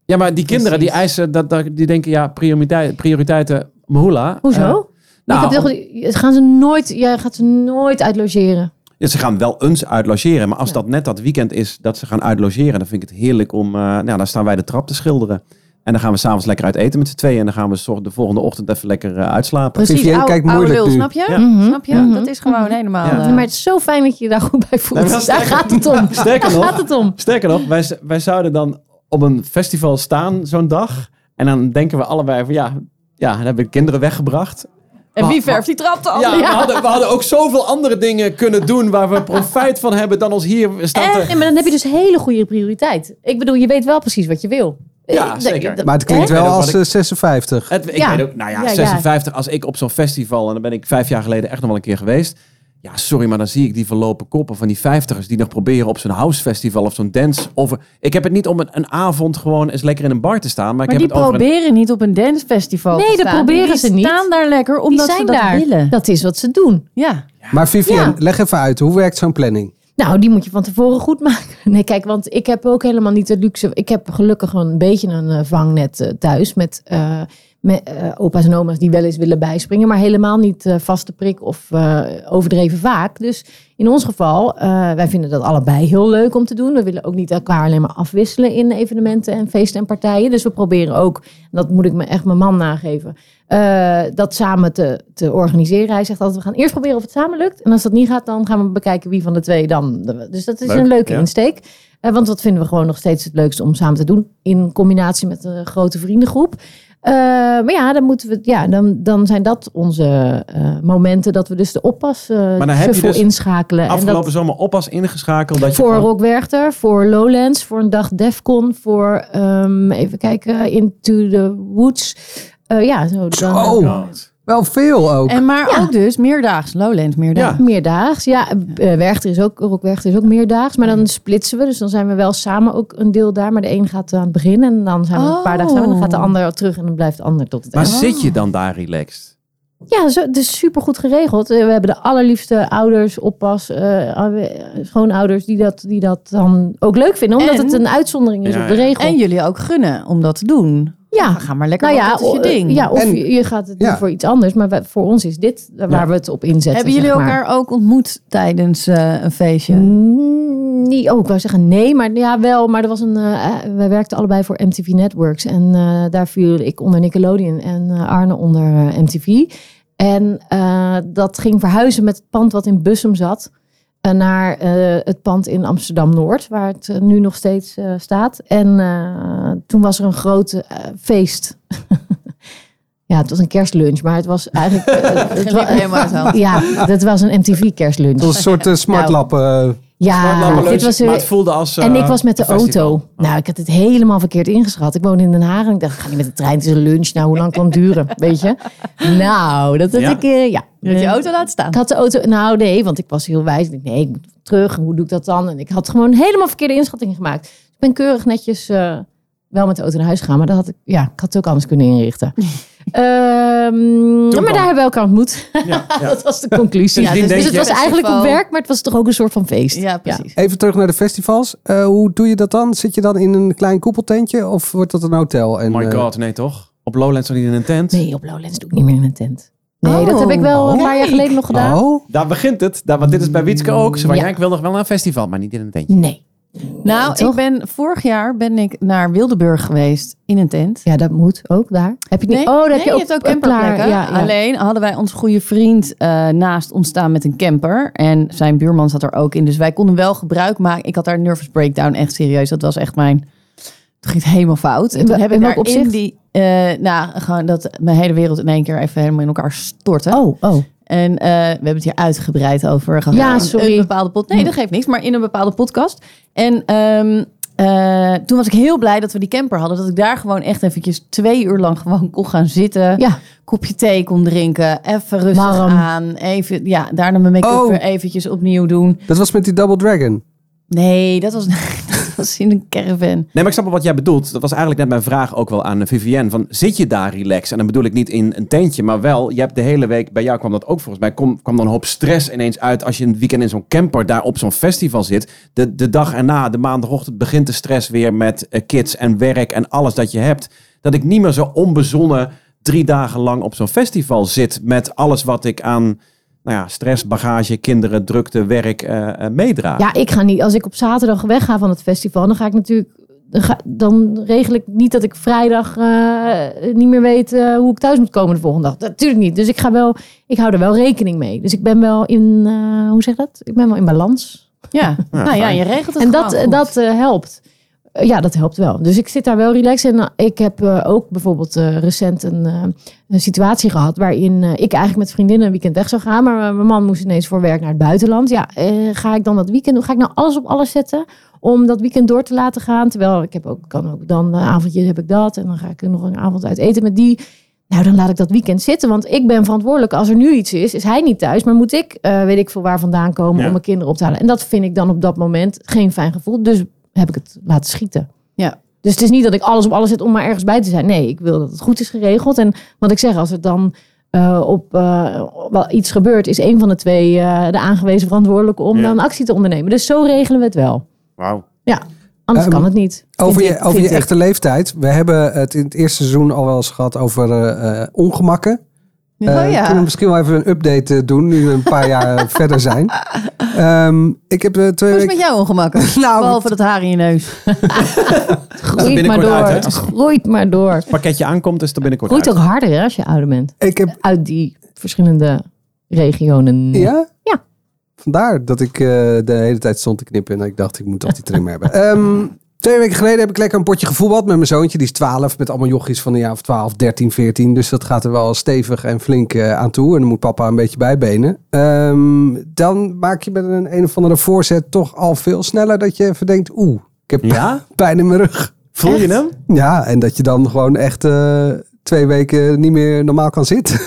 Ja, maar die kinderen die eisen, dat, dat- die denken ja, prioriteiten, prioriteiten, mahula. Eh,
Hoezo?
nou,
ik heb toch- gaan ze nooit, jij gaat ze nooit uitlogeren.
Ja, ze gaan wel eens uitlogeren. Maar als dat net dat weekend is dat ze gaan uitlogeren, dan vind ik het heerlijk om. eh, nou, dan staan wij de trap te schilderen. En dan gaan we s'avonds lekker uit eten met z'n tweeën. En dan gaan we 's ochtend- de volgende ochtend even lekker eh,
*laughs*
uitslapen.
Precies,
Vivienne
Oude-
kijkt
oude
moeilijk
lul,
nu.
snap je? Mhm,
Ja.
Snap je? Dat is gewoon helemaal...
Ja.
eh,
maar het is zo fijn dat je je daar goed bij voelt.
Nee, maar dat is
daar
sterker-
gaat het
*laughs*
om.
Sterker
Daar gaat
nog,
het om.
sterker nog wij, z- wij zouden dan op een festival staan zo'n dag. En dan denken we allebei van ja, ja dan heb ik kinderen weggebracht.
En wie verft die trap
Oh,
dan?
Ja, We, hadden, we hadden ook zoveel andere dingen kunnen doen waar we profijt van hebben dan als hier staan
En,
te...
nee, maar dan heb je dus hele goede prioriteit. Ik bedoel, je weet wel precies wat je wil.
Ja,
Eh, dat-
zeker.
dat-
Maar het klinkt
hè?
wel
Ja,
als
wat ik-
eh, 56.
Het, ik
Ja.
weet ook, nou ja,
Ja, ja.
56, als ik op zo'n festival, en daar ben ik vijf jaar geleden echt nog wel een keer geweest. Ja, sorry, maar dan zie ik die verlopen koppen van die vijftigers die nog proberen op zo'n housefestival of zo'n dance. Of, ik heb het niet om een, een avond gewoon eens lekker in een bar te staan, maar,
Maar
ik
die
heb het over een-
proberen niet op een dancefestival
Nee,
te
dat
staan.
proberen
Die
ze niet.
staan daar lekker
Die
omdat ze
zijn
dat
daar.
willen.
Dat is wat ze doen.
Ja.
Maar Vivienne,
Ja.
leg even uit. Hoe werkt zo'n planning?
Nou, die moet je van tevoren goed maken. *laughs* Nee, kijk, want ik heb ook helemaal niet de luxe. Ik heb gelukkig een beetje een eh, vangnet eh, thuis met, eh, met eh, opa's en oma's die wel eens willen bijspringen, maar helemaal niet eh, vaste prik of eh, overdreven vaak. Dus in ons geval, eh, wij vinden dat allebei heel leuk om te doen. We willen ook niet elkaar alleen maar afwisselen in evenementen en feesten en partijen. Dus we proberen ook, en dat moet ik me echt mijn man nageven, eh, dat samen te, te organiseren. Hij zegt altijd, we gaan eerst proberen of het samen lukt. En als dat niet gaat, dan gaan we bekijken wie van de twee dan. de- Dus dat is
Leuk,
een leuke
ja.
insteek. Eh, want dat vinden we gewoon nog steeds het leukste om samen te doen. In combinatie met een grote vriendengroep. Eh, maar ja, dan, moeten we, ja dan, dan zijn dat onze eh, momenten dat we dus de oppas eh,
dan heb je
shuffle
dus
inschakelen. En dat,
afgelopen zomer oppas ingeschakeld. Dat je
voor
gewoon-
Rock Werchter, voor Lowlands, voor een dag Defcon, voor ehm, even kijken, Into the Woods. Eh, ja, zo dan.
Oh, wel veel ook.
En maar ook dus meerdaags. Lowland meerdaags.
Meerdaags. Ja, eh, Werchter is ook, Rock Werchter is ook meerdaags. Maar dan splitsen we. Dus dan zijn we wel samen ook een deel daar. Maar de een gaat aan het begin en dan zijn we een paar dagen samen. Dan gaat
Oh.
de ander terug en dan blijft de ander tot het
Maar
eind.
zit je dan daar relaxed?
Ja, zo, het is super goed geregeld. Eh, We hebben de allerliefste ouders, oppas, eh, eh, schoonouders die dat, die dat dan ook leuk vinden. Omdat
En-
het een uitzondering is
Ja,
op de
ja.
regel.
En jullie ook gunnen om dat te doen.
ja.
Ga maar lekker,
Nou ja,
want dat is je
o-
ding.
ja, of
En-
je, je gaat het doen
ja.
voor iets anders. Maar wij- voor ons is dit waar
Ja.
we het op inzetten.
Hebben jullie
zeg maar.
elkaar ook ontmoet tijdens eh, een feestje?
Mm, niet, oh, ik wou zeggen nee, maar ja, wel. Maar er was een. eh, wij werkten allebei voor MTV Networks. En eh, daar viel ik onder Nickelodeon en eh, Arne onder eh, MTV. En eh, dat ging verhuizen met het pand wat in Bussum zat. eh, naar eh, het pand in Amsterdam Noord, waar het eh, nu nog steeds eh, staat. En eh, toen was er een groot eh, feest. *laughs* ja, het was een kerstlunch, maar het was eigenlijk. eh,
*laughs*
het
liep helemaal uit de hand.
ja, dat was een MTV kerstlunch.
Dat is een soort eh, smartlap. eh.
Ja, Ah, dit was
maar het voelde als... eh,
en ik was met de
een festival. Oh.
auto. Nou, ik had het helemaal verkeerd ingeschat. Ik woon in Den Haag en ik dacht, ga niet met de trein, het is een lunch. Nou, hoe lang kan het duren, *laughs* weet je? Nou, dat had
Ja.
ik... eh, ja.
Dat je auto laat staan.
Ik had de auto... Nou, nee, want ik was heel wijs. Ik dacht, nee, ik moet terug. Hoe doe ik dat dan? En ik had gewoon helemaal verkeerde inschatting gemaakt. Dus ik ben keurig netjes eh, wel met de auto naar huis gegaan. Maar dat had ik, ja, ik had het ook anders kunnen inrichten.
*laughs*
Ehm, maar daar hebben we elkaar ontmoet. *laughs*
Ja, ja.
dat was de conclusie.
Ja, dus
dus
denk
het
je-
was eigenlijk op
Festival.
werk, maar het was toch ook een soort van feest.
Ja, precies.
Even terug naar de festivals. Eh, hoe doe je dat dan? Zit je dan in een klein koepeltentje of wordt dat een hotel? En,
Oh my
eh,
god, nee toch? Op Lowlands zat hij in een tent.
Nee, op Lowlands doe ik niet meer in een tent. Nee, dat heb ik wel een paar jaar
Kijk.
geleden nog gedaan.
Oh,
Daar begint het. Daar, want dit is bij Wietske ook. Ze van,
Mm. Ja.
ja. ik wil nog wel naar een festival, maar niet in een tentje.
Nee.
Nou,
toch?
ik ben, vorig jaar ben ik naar Wildeburg geweest in een tent.
Ja, dat moet ook daar. Heb je niet? oh, daar heb je ook
hebt ook
een
camperplekken.
klaar- Ja, ja.
Alleen hadden wij onze goede vriend eh, naast ons staan met een camper. En zijn buurman zat er ook in. Dus wij konden wel gebruik maken. Ik had daar een nervous breakdown. Echt serieus. Dat was echt mijn... Toen ging het helemaal fout. En toen
In
heb ik
welk
daar in
opzicht?
die... eh, nou, gewoon dat mijn hele wereld in één keer even helemaal in elkaar stortte.
Oh, oh.
En eh, we hebben het hier uitgebreid over gehad.
Ja, sorry.
Een bepaalde pod- nee, dat geeft niks, maar in een bepaalde podcast. En ehm, eh, toen was ik heel blij dat we die camper hadden. Dat ik daar gewoon echt eventjes twee uur lang gewoon kon gaan zitten.
Ja.
Kopje thee kon drinken. Even rustig
Warm.
aan. Even, ja, daarna mijn make-up
Oh.
weer eventjes opnieuw doen.
dat was met die Double Dragon.
Nee, dat was, *laughs* dat was in een caravan.
Nee, maar ik snap wel wat jij bedoelt. Dat was eigenlijk net mijn vraag ook wel aan eh, Vivienne. Van, zit je daar relaxed? En dan bedoel ik niet in een tentje, maar wel. Je hebt de hele week, bij jou kwam dat ook volgens mij, kom, kwam dan een hoop stress ineens uit. Als je een weekend in zo'n camper daar op zo'n festival zit. De, de dag erna, de maandagochtend, begint de stress weer met eh, kids en werk en alles dat je hebt. Dat ik niet meer zo onbezonnen drie dagen lang op zo'n festival zit. Met alles wat ik aan nou ja, stress, bagage, kinderen, drukte, werk eh, eh, meedraag.
Ja, ik ga niet. Als ik op zaterdag wegga van het festival, dan ga ik natuurlijk. Dan, ga- dan regel ik niet dat ik vrijdag eh, niet meer weet eh, hoe ik thuis moet komen de volgende dag. Natuurlijk niet. Dus ik ga wel. Ik hou er wel rekening mee. Dus ik ben wel in. eh, hoe zeg je dat? Ik ben wel in balans.
Ja, nou ja,
fijn.
je regelt het
en dat,
gewoon goed.
dat eh, helpt. Eh, ja, dat helpt wel. Dus ik zit daar wel relaxed. En eh, ik heb eh, ook bijvoorbeeld eh, recent een, eh, een situatie gehad waarin eh, ik eigenlijk met vriendinnen een weekend weg zou gaan. Maar eh, mijn man moest ineens voor werk naar het buitenland. Ja, eh, ga ik dan dat weekend, doen? ga ik nou alles op alles zetten om dat weekend door te laten gaan? Terwijl ik heb ook, kan ook dan een avondje heb ik dat. En dan ga ik nog een avond uit eten met die. Nou, dan laat ik dat weekend zitten. Want ik ben verantwoordelijk. Als er nu iets is, is hij niet thuis. Maar moet ik, eh, weet ik veel waar vandaan komen
Ja.
om mijn kinderen op te halen. En dat vind ik dan op dat moment geen fijn gevoel. Dus heb ik het laten schieten.
Ja.
Dus het is niet dat ik alles op alles zet om maar ergens bij te zijn. Nee, ik wil dat het goed is geregeld. En wat ik zeg, als er dan eh, op eh, wel iets gebeurt, is een van de twee eh, de aangewezen verantwoordelijke om
Ja.
dan actie te ondernemen. Dus zo regelen we het wel.
Wauw.
Ja, anders
Ehm,
kan het niet.
Over
vind
je,
ik-
over je
vind ik.
echte leeftijd. We hebben het in het eerste seizoen al wel eens gehad over eh, eh, ongemakken. Eh,
oh ja.
Kunnen we misschien wel even een update eh, doen, nu we een paar jaar eh, *laughs* verder zijn. Ehm, ik heb eh, twee
Hoe is het
weken...
met jou ongemakken?
Nou,
Behalve dat haar in je neus.
Groeit maar
binnenkort
door.
uit, hè?
het groeit maar door.
Het pakketje aankomt, is het er binnenkort
Groeit
uit.
ook harder hè, als je ouder bent.
ik heb...
uit die verschillende regionen.
Ja?
Ja.
Vandaar dat ik eh, de hele tijd stond te knippen en ik dacht, ik moet toch die trim hebben. *laughs* Ehm, twee weken geleden heb ik lekker een potje gevoetbald met mijn zoontje. Die is 12, met allemaal jochies van de jaar of 12, 13, 14. Dus dat gaat er wel stevig en flink eh, aan toe. En dan moet papa een beetje bijbenen. Ehm, dan maak je met een een of andere voorzet toch al veel sneller dat je even denkt, oeh, ik heb
Ja?
*laughs* pijn in mijn rug.
Voel je hem?
Ja, en dat je dan gewoon echt eh, twee weken niet meer normaal kan zitten.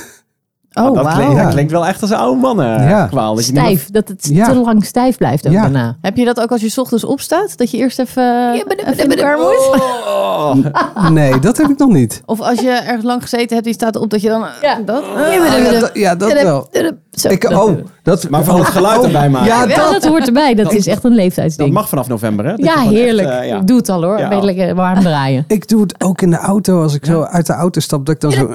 Oh,
Nou, dat,
wauw.
klinkt, dat
Ja.
klinkt wel echt als een oude mannen eh,
Ja.
kwaal. Dat je niet
Stijf, dat het
Ja.
te lang stijf blijft ook
Ja.
daarna.
Heb je dat ook als je 's ochtends opstaat? Dat je eerst even, even in elkaar moet?
Oh.
oh,
Nee, dat heb ik nog niet.
Of als je ergens lang gezeten hebt, die staat op dat je dan...
Ja.
Dat?
Oh, ja, dat- ja, dat wel.
Zo,
Ik,
dat,
oh, dat,
Maar vooral het geluid erbij maken.
ja,
ja,
dat,
dat hoort erbij. Dat is echt een
Dat
leeftijdsding.
mag vanaf november, hè? Dat je
ja,
gewoon echt,
heerlijk.
eh, ja.
Ik doe het al hoor.
Ja.
Ben je lekker warm draaien.
ik doe het ook in de auto. Als ik zo uit de auto stap, dat ik dan zo...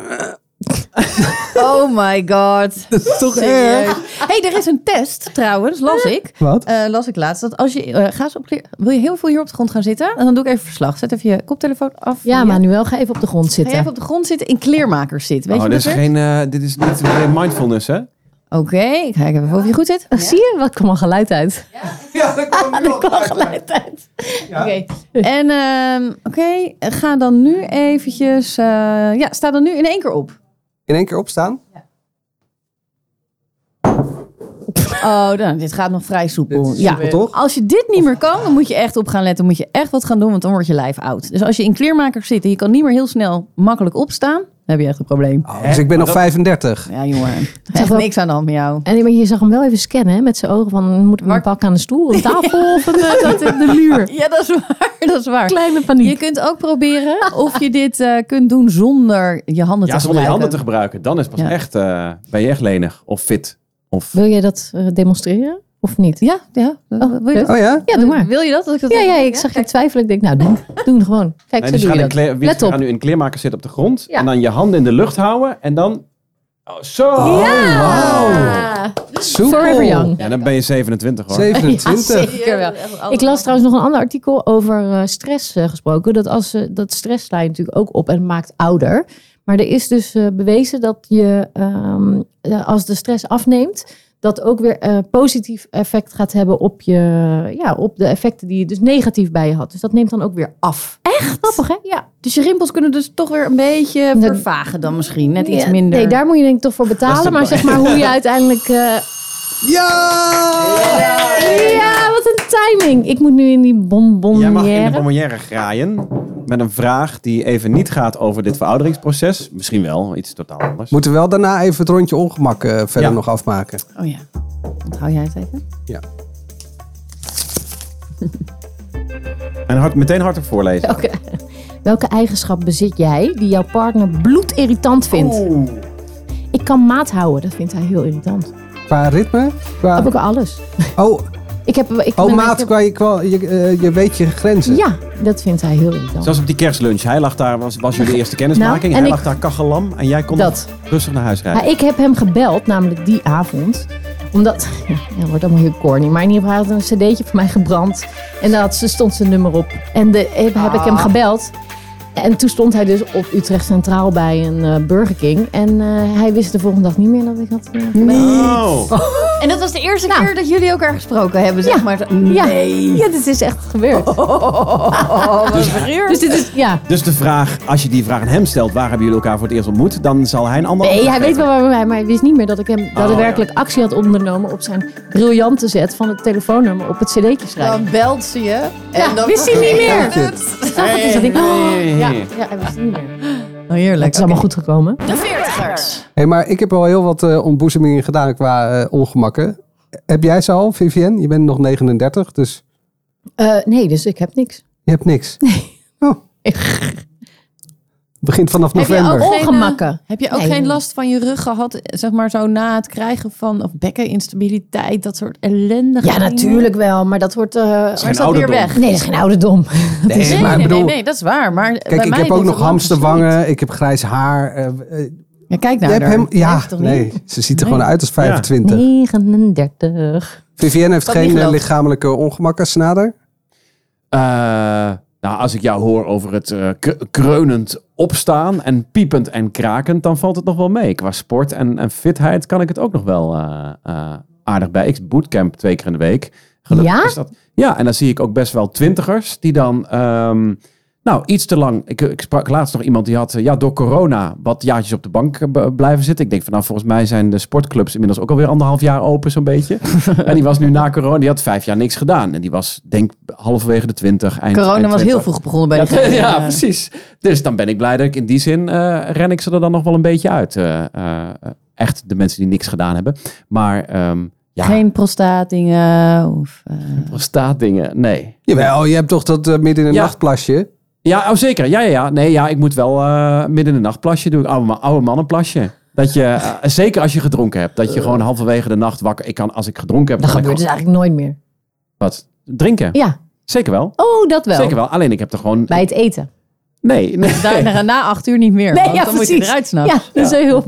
Oh my god.
*laughs* Dat is toch
Serieus.
erg?
hey, er is een test trouwens, las ik.
Wat?
Eh, las ik laatst. Dat als je, eh, ga eens op, wil je heel veel hier op de grond gaan zitten? En dan doe ik even verslag. Zet even je koptelefoon af.
Ja, Manuel, ga even op de grond
Ga je
zitten.
even op de grond zitten in kleermakers zit. Weet
Oh,
je
dit,
wat
is
er-
geen, eh, dit is niet weer mindfulness, hè?
Oké, ik kijk even of je goed zit.
Oh, Zie je? Wat kwam al geluid uit? Ja, *laughs* dat kwam geluid uit. Oké.
En ehm, oké, ga dan nu eventjes... eh, ja, sta dan nu in één keer op.
In één keer opstaan?
Oh, nou, dit gaat nog vrij soepel.
Dit is
ja.
soepel, toch?
Als je dit niet meer kan, dan moet je echt op gaan letten. moet je echt wat gaan doen, want dan wordt je lijf oud. Dus als je in kleermakers zit en je kan niet meer heel snel makkelijk opstaan, dan heb je echt een probleem.
Oh, dus ik ben nog 35.
Ja, jongen.
Zeg
Echt
wel-
niks aan de hand met jou.
En maar je zag hem wel even scannen hè, met zijn ogen van moet ik
Waar-
mijn pak aan de stoel, een tafel of een, eh, dat, de muur.
Ja, dat is waar. *laughs* Dat is waar.
Kleine paniek.
Je kunt ook proberen of je dit eh, kunt doen zonder je handen
Ja,
te
zonder
gebruiken.
je handen te gebruiken. Dan is pas
Ja.
echt, eh, ben je echt lenig of fit. Of...
Wil je dat eh, demonstreren of niet? Eh,
Ja, ja. wil, je
leuk.
dat?
Oh ja?
Ja, doe maar.
wil je dat? dat ik dat
Ja, ja, ik zag je twijfelen. Ik denk, nou, doe,
Oh.
doe hem gewoon. Kijk,
Nee,
zo
dus
doe
gaan
je
in
dat.
kle- wie-
Let
gaan
op.
nu in kleermakers zitten op de grond.
Ja.
En dan je handen in de lucht houden. En dan Oh, zo!
Ja!
Soepel.
Forever young.
Ja, dan ben je 27 hoor.
27.
Zeker wel.
Oh.
Ik las trouwens nog een ander artikel over eh, stress eh, gesproken. Dat, als, eh, dat stress sla je natuurlijk ook op en maakt ouder. Maar er is dus eh, bewezen dat je, ehm, eh, als de stress afneemt, dat ook weer eh, positief effect gaat hebben op, je, ja, op de effecten die je dus negatief bij je had. Dus dat neemt dan ook weer af. Echt? Grappig, hè? Ja.
Dus je rimpels kunnen dus toch weer een beetje
Nee.
vervagen dan misschien. Net iets
Ja,
minder.
Nee, daar moet je denk ik toch voor betalen. Maar zeg maar hoe
*laughs*
je uiteindelijk... eh,
Ja!
ja, wat een timing. Ik moet nu in die
Jij mag in de
bonbonnière.
bonbonnière graaien met een vraag die even niet gaat over dit verouderingsproces. Misschien wel, iets totaal anders.
Moeten we wel daarna even het rondje ongemak eh, verder
Ja.
nog afmaken.
Oh ja. Hou jij het even?
En hard, meteen hardop voorlezen.
Welke, welke eigenschap bezit jij die jouw partner bloedirritant vindt? Ik kan maat houden, dat vindt hij heel irritant.
Qua ritme? Qua...
Heb ik alles.
Oh,
Ik heb, ik
oh
ben-
maat, qua, je, qua- je, eh, je weet je grenzen.
Ja, dat vindt hij heel irritant.
Zoals op die kerstlunch. Hij lag daar, was, was jullie eerste kennismaking.
Nou, en
hij
ik-
lag daar kachelam en jij kon
Dat.
nog rustig naar huis rijden.
Maar ik heb hem gebeld, namelijk die avond. Omdat, *laughs* ja, dat wordt allemaal heel corny. Maar in ieder geval hij had een cd'tje van mij gebrand. En daar had, ze- stond zijn nummer op. En de, heb, heb ik hem gebeld. En toen stond hij dus op Utrecht Centraal bij een eh, Burger King. En eh, hij wist de volgende dag niet meer dat ik had eh, gebeld.
Oh.
En dat was de eerste
Nou.
keer dat jullie elkaar gesproken hebben, zeg
Ja.
maar.
Ja.
Nee.
Ja, dit is echt gebeurd. Dus dit is, ja.
Dus de vraag, als je die vraag aan hem stelt, waar hebben jullie elkaar voor het eerst ontmoet? Dan zal hij een ander
Nee,
antwoord
hij weet
geven.
wel waar we zijn, maar hij wist niet meer dat ik hem
Oh,
daadwerkelijk actie had ondernomen op zijn briljante zet van het telefoonnummer op het cd'tje schrijven.
Dan belt ze je. En
Ja,
dan
wist hij niet meer.
Het.
Zag het dus dat ik,
Hey.
oh, ja, ja, hij wist het niet meer. Het
Oh, heerlijk.
is allemaal goed gekomen.
De veertigers.
Hey, maar ik heb al heel wat eh, ontboezemingen gedaan qua eh, ongemakken. Heb jij ze al, Vivienne? Je bent nog 39, dus
Eh, nee, dus ik heb niks.
je hebt
*laughs*
niks. Oh. Begint vanaf
Heb je
november.
ook- eh,
Ongemakken.
Heb je ook
Nee.
geen last van je rug gehad, zeg maar zo na het krijgen van of bekkeninstabiliteit, dat soort ellendige
Ja,
dingen?
natuurlijk wel, maar dat wordt... eh,
Maar is
Geen
dat weer
ouderdom.
weg?
nee, dat is geen *laughs* ouderdom.
Nee,
Nee,
maar
nee,
ik
nee,
bedoel,
nee, dat is waar. Maar
kijk, ik heb ook nog hamsterwangen, ik heb grijs haar. eh, eh,
Ja, kijk
je
nou.
hebt hem, ja,
Heeft toch
nee,
niet?
ze ziet er
Nee.
gewoon uit als 25.
39.
Vivienne heeft
Dat niet
geen eh,
geloofd.
lichamelijke ongemakken, Snader.
Eh, nou, als ik jou hoor over het eh, k- kreunend opstaan en piepend en krakend, dan valt het nog wel mee. Qua sport en, en fitheid kan ik het ook nog wel eh, eh, aardig bij. Ik bootcamp twee keer in de week. Gelukkig
Ja?
is dat. Ja, en dan zie ik ook best wel twintigers die dan... ehm, nou, iets te lang. Ik, ik sprak laatst nog iemand die had eh, ja, door corona wat jaartjes op de bank eh, b- blijven zitten. Ik denk van nou, volgens mij zijn de sportclubs inmiddels ook alweer anderhalf jaar open, zo'n beetje. en die was nu na corona, die had vijf jaar niks gedaan. En die was denk halverwege de twintig. Eind,
Corona
eind
was heel
20.
vroeg begonnen bij
*laughs* Ja,
*laughs*
de
ja, precies. Dus dan ben ik blij dat ik in die zin eh, ren ik ze er dan nog wel een beetje uit. Eh, eh, echt de mensen die niks gedaan hebben. Maar ehm ja,
Geen prostaatdingen of... eh,
prostaatdingen, nee.
Jawel, je hebt toch dat eh, midden in de
Ja.
nacht plasje?
Ja, oh zeker. Ja, ja, ja. Nee, ja, ik moet wel eh, midden in de nacht plasje doen. Oude, ma- oude mannenplasje. Dat je, eh, zeker als je gedronken hebt, dat je gewoon halverwege de nacht wakker... Ik kan, als ik gedronken heb...
Dat
kan ik
Eh. gebeurt dus
gewoon-
eigenlijk nooit meer.
Wat? Drinken?
Ja.
Zeker wel.
Oh, dat wel.
Zeker wel. Alleen ik heb er gewoon...
Bij het eten.
Nee, nee.
daarna- na acht uur niet meer.
Nee,
want
ja,
dan moet je
precies.
eruit
Ja,
snappen.
dat is heel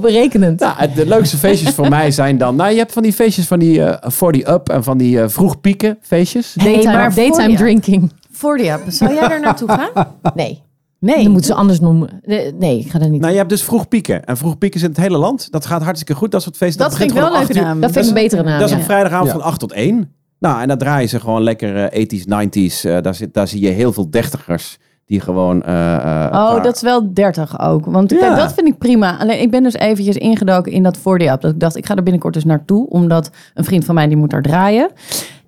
*laughs*
berekenend.
Nou, het- de leukste feestjes voor mij zijn dan... Nou, je hebt van die feestjes van die eh 40 up en van die eh, vroeg pieken feestjes.
Daytime,
maar voor
daytime
je.
drinking.
Voor die app. Zou jij er naartoe gaan?
Ah. Nee.
Nee.
Dat moeten ze anders noemen. Nee, nee, ik ga dat niet.
Nou, je hebt dus vroeg pieken. En vroeg pieken is in het hele land. Dat gaat hartstikke goed. Dat soort feesten.
dat vind ik wel een
leuk
leuke naam.
dat vind ik een betere naam.
Dat is
ja.
een vrijdagavond
Ja.
van 8 tot 1. Nou, en dan draaien ze gewoon lekker eh, 80s, 90s. Eh, daar, zit, daar zie je heel veel dertigers die gewoon... eh, eh,
Oh,
elkaar-
dat is wel 30 ook. Want
Ja.
kijk, dat vind ik prima. Alleen ik ben dus eventjes ingedoken in dat 4 app Dat ik dacht, ik ga er binnenkort dus naartoe. Omdat een vriend van mij, die moet daar draaien.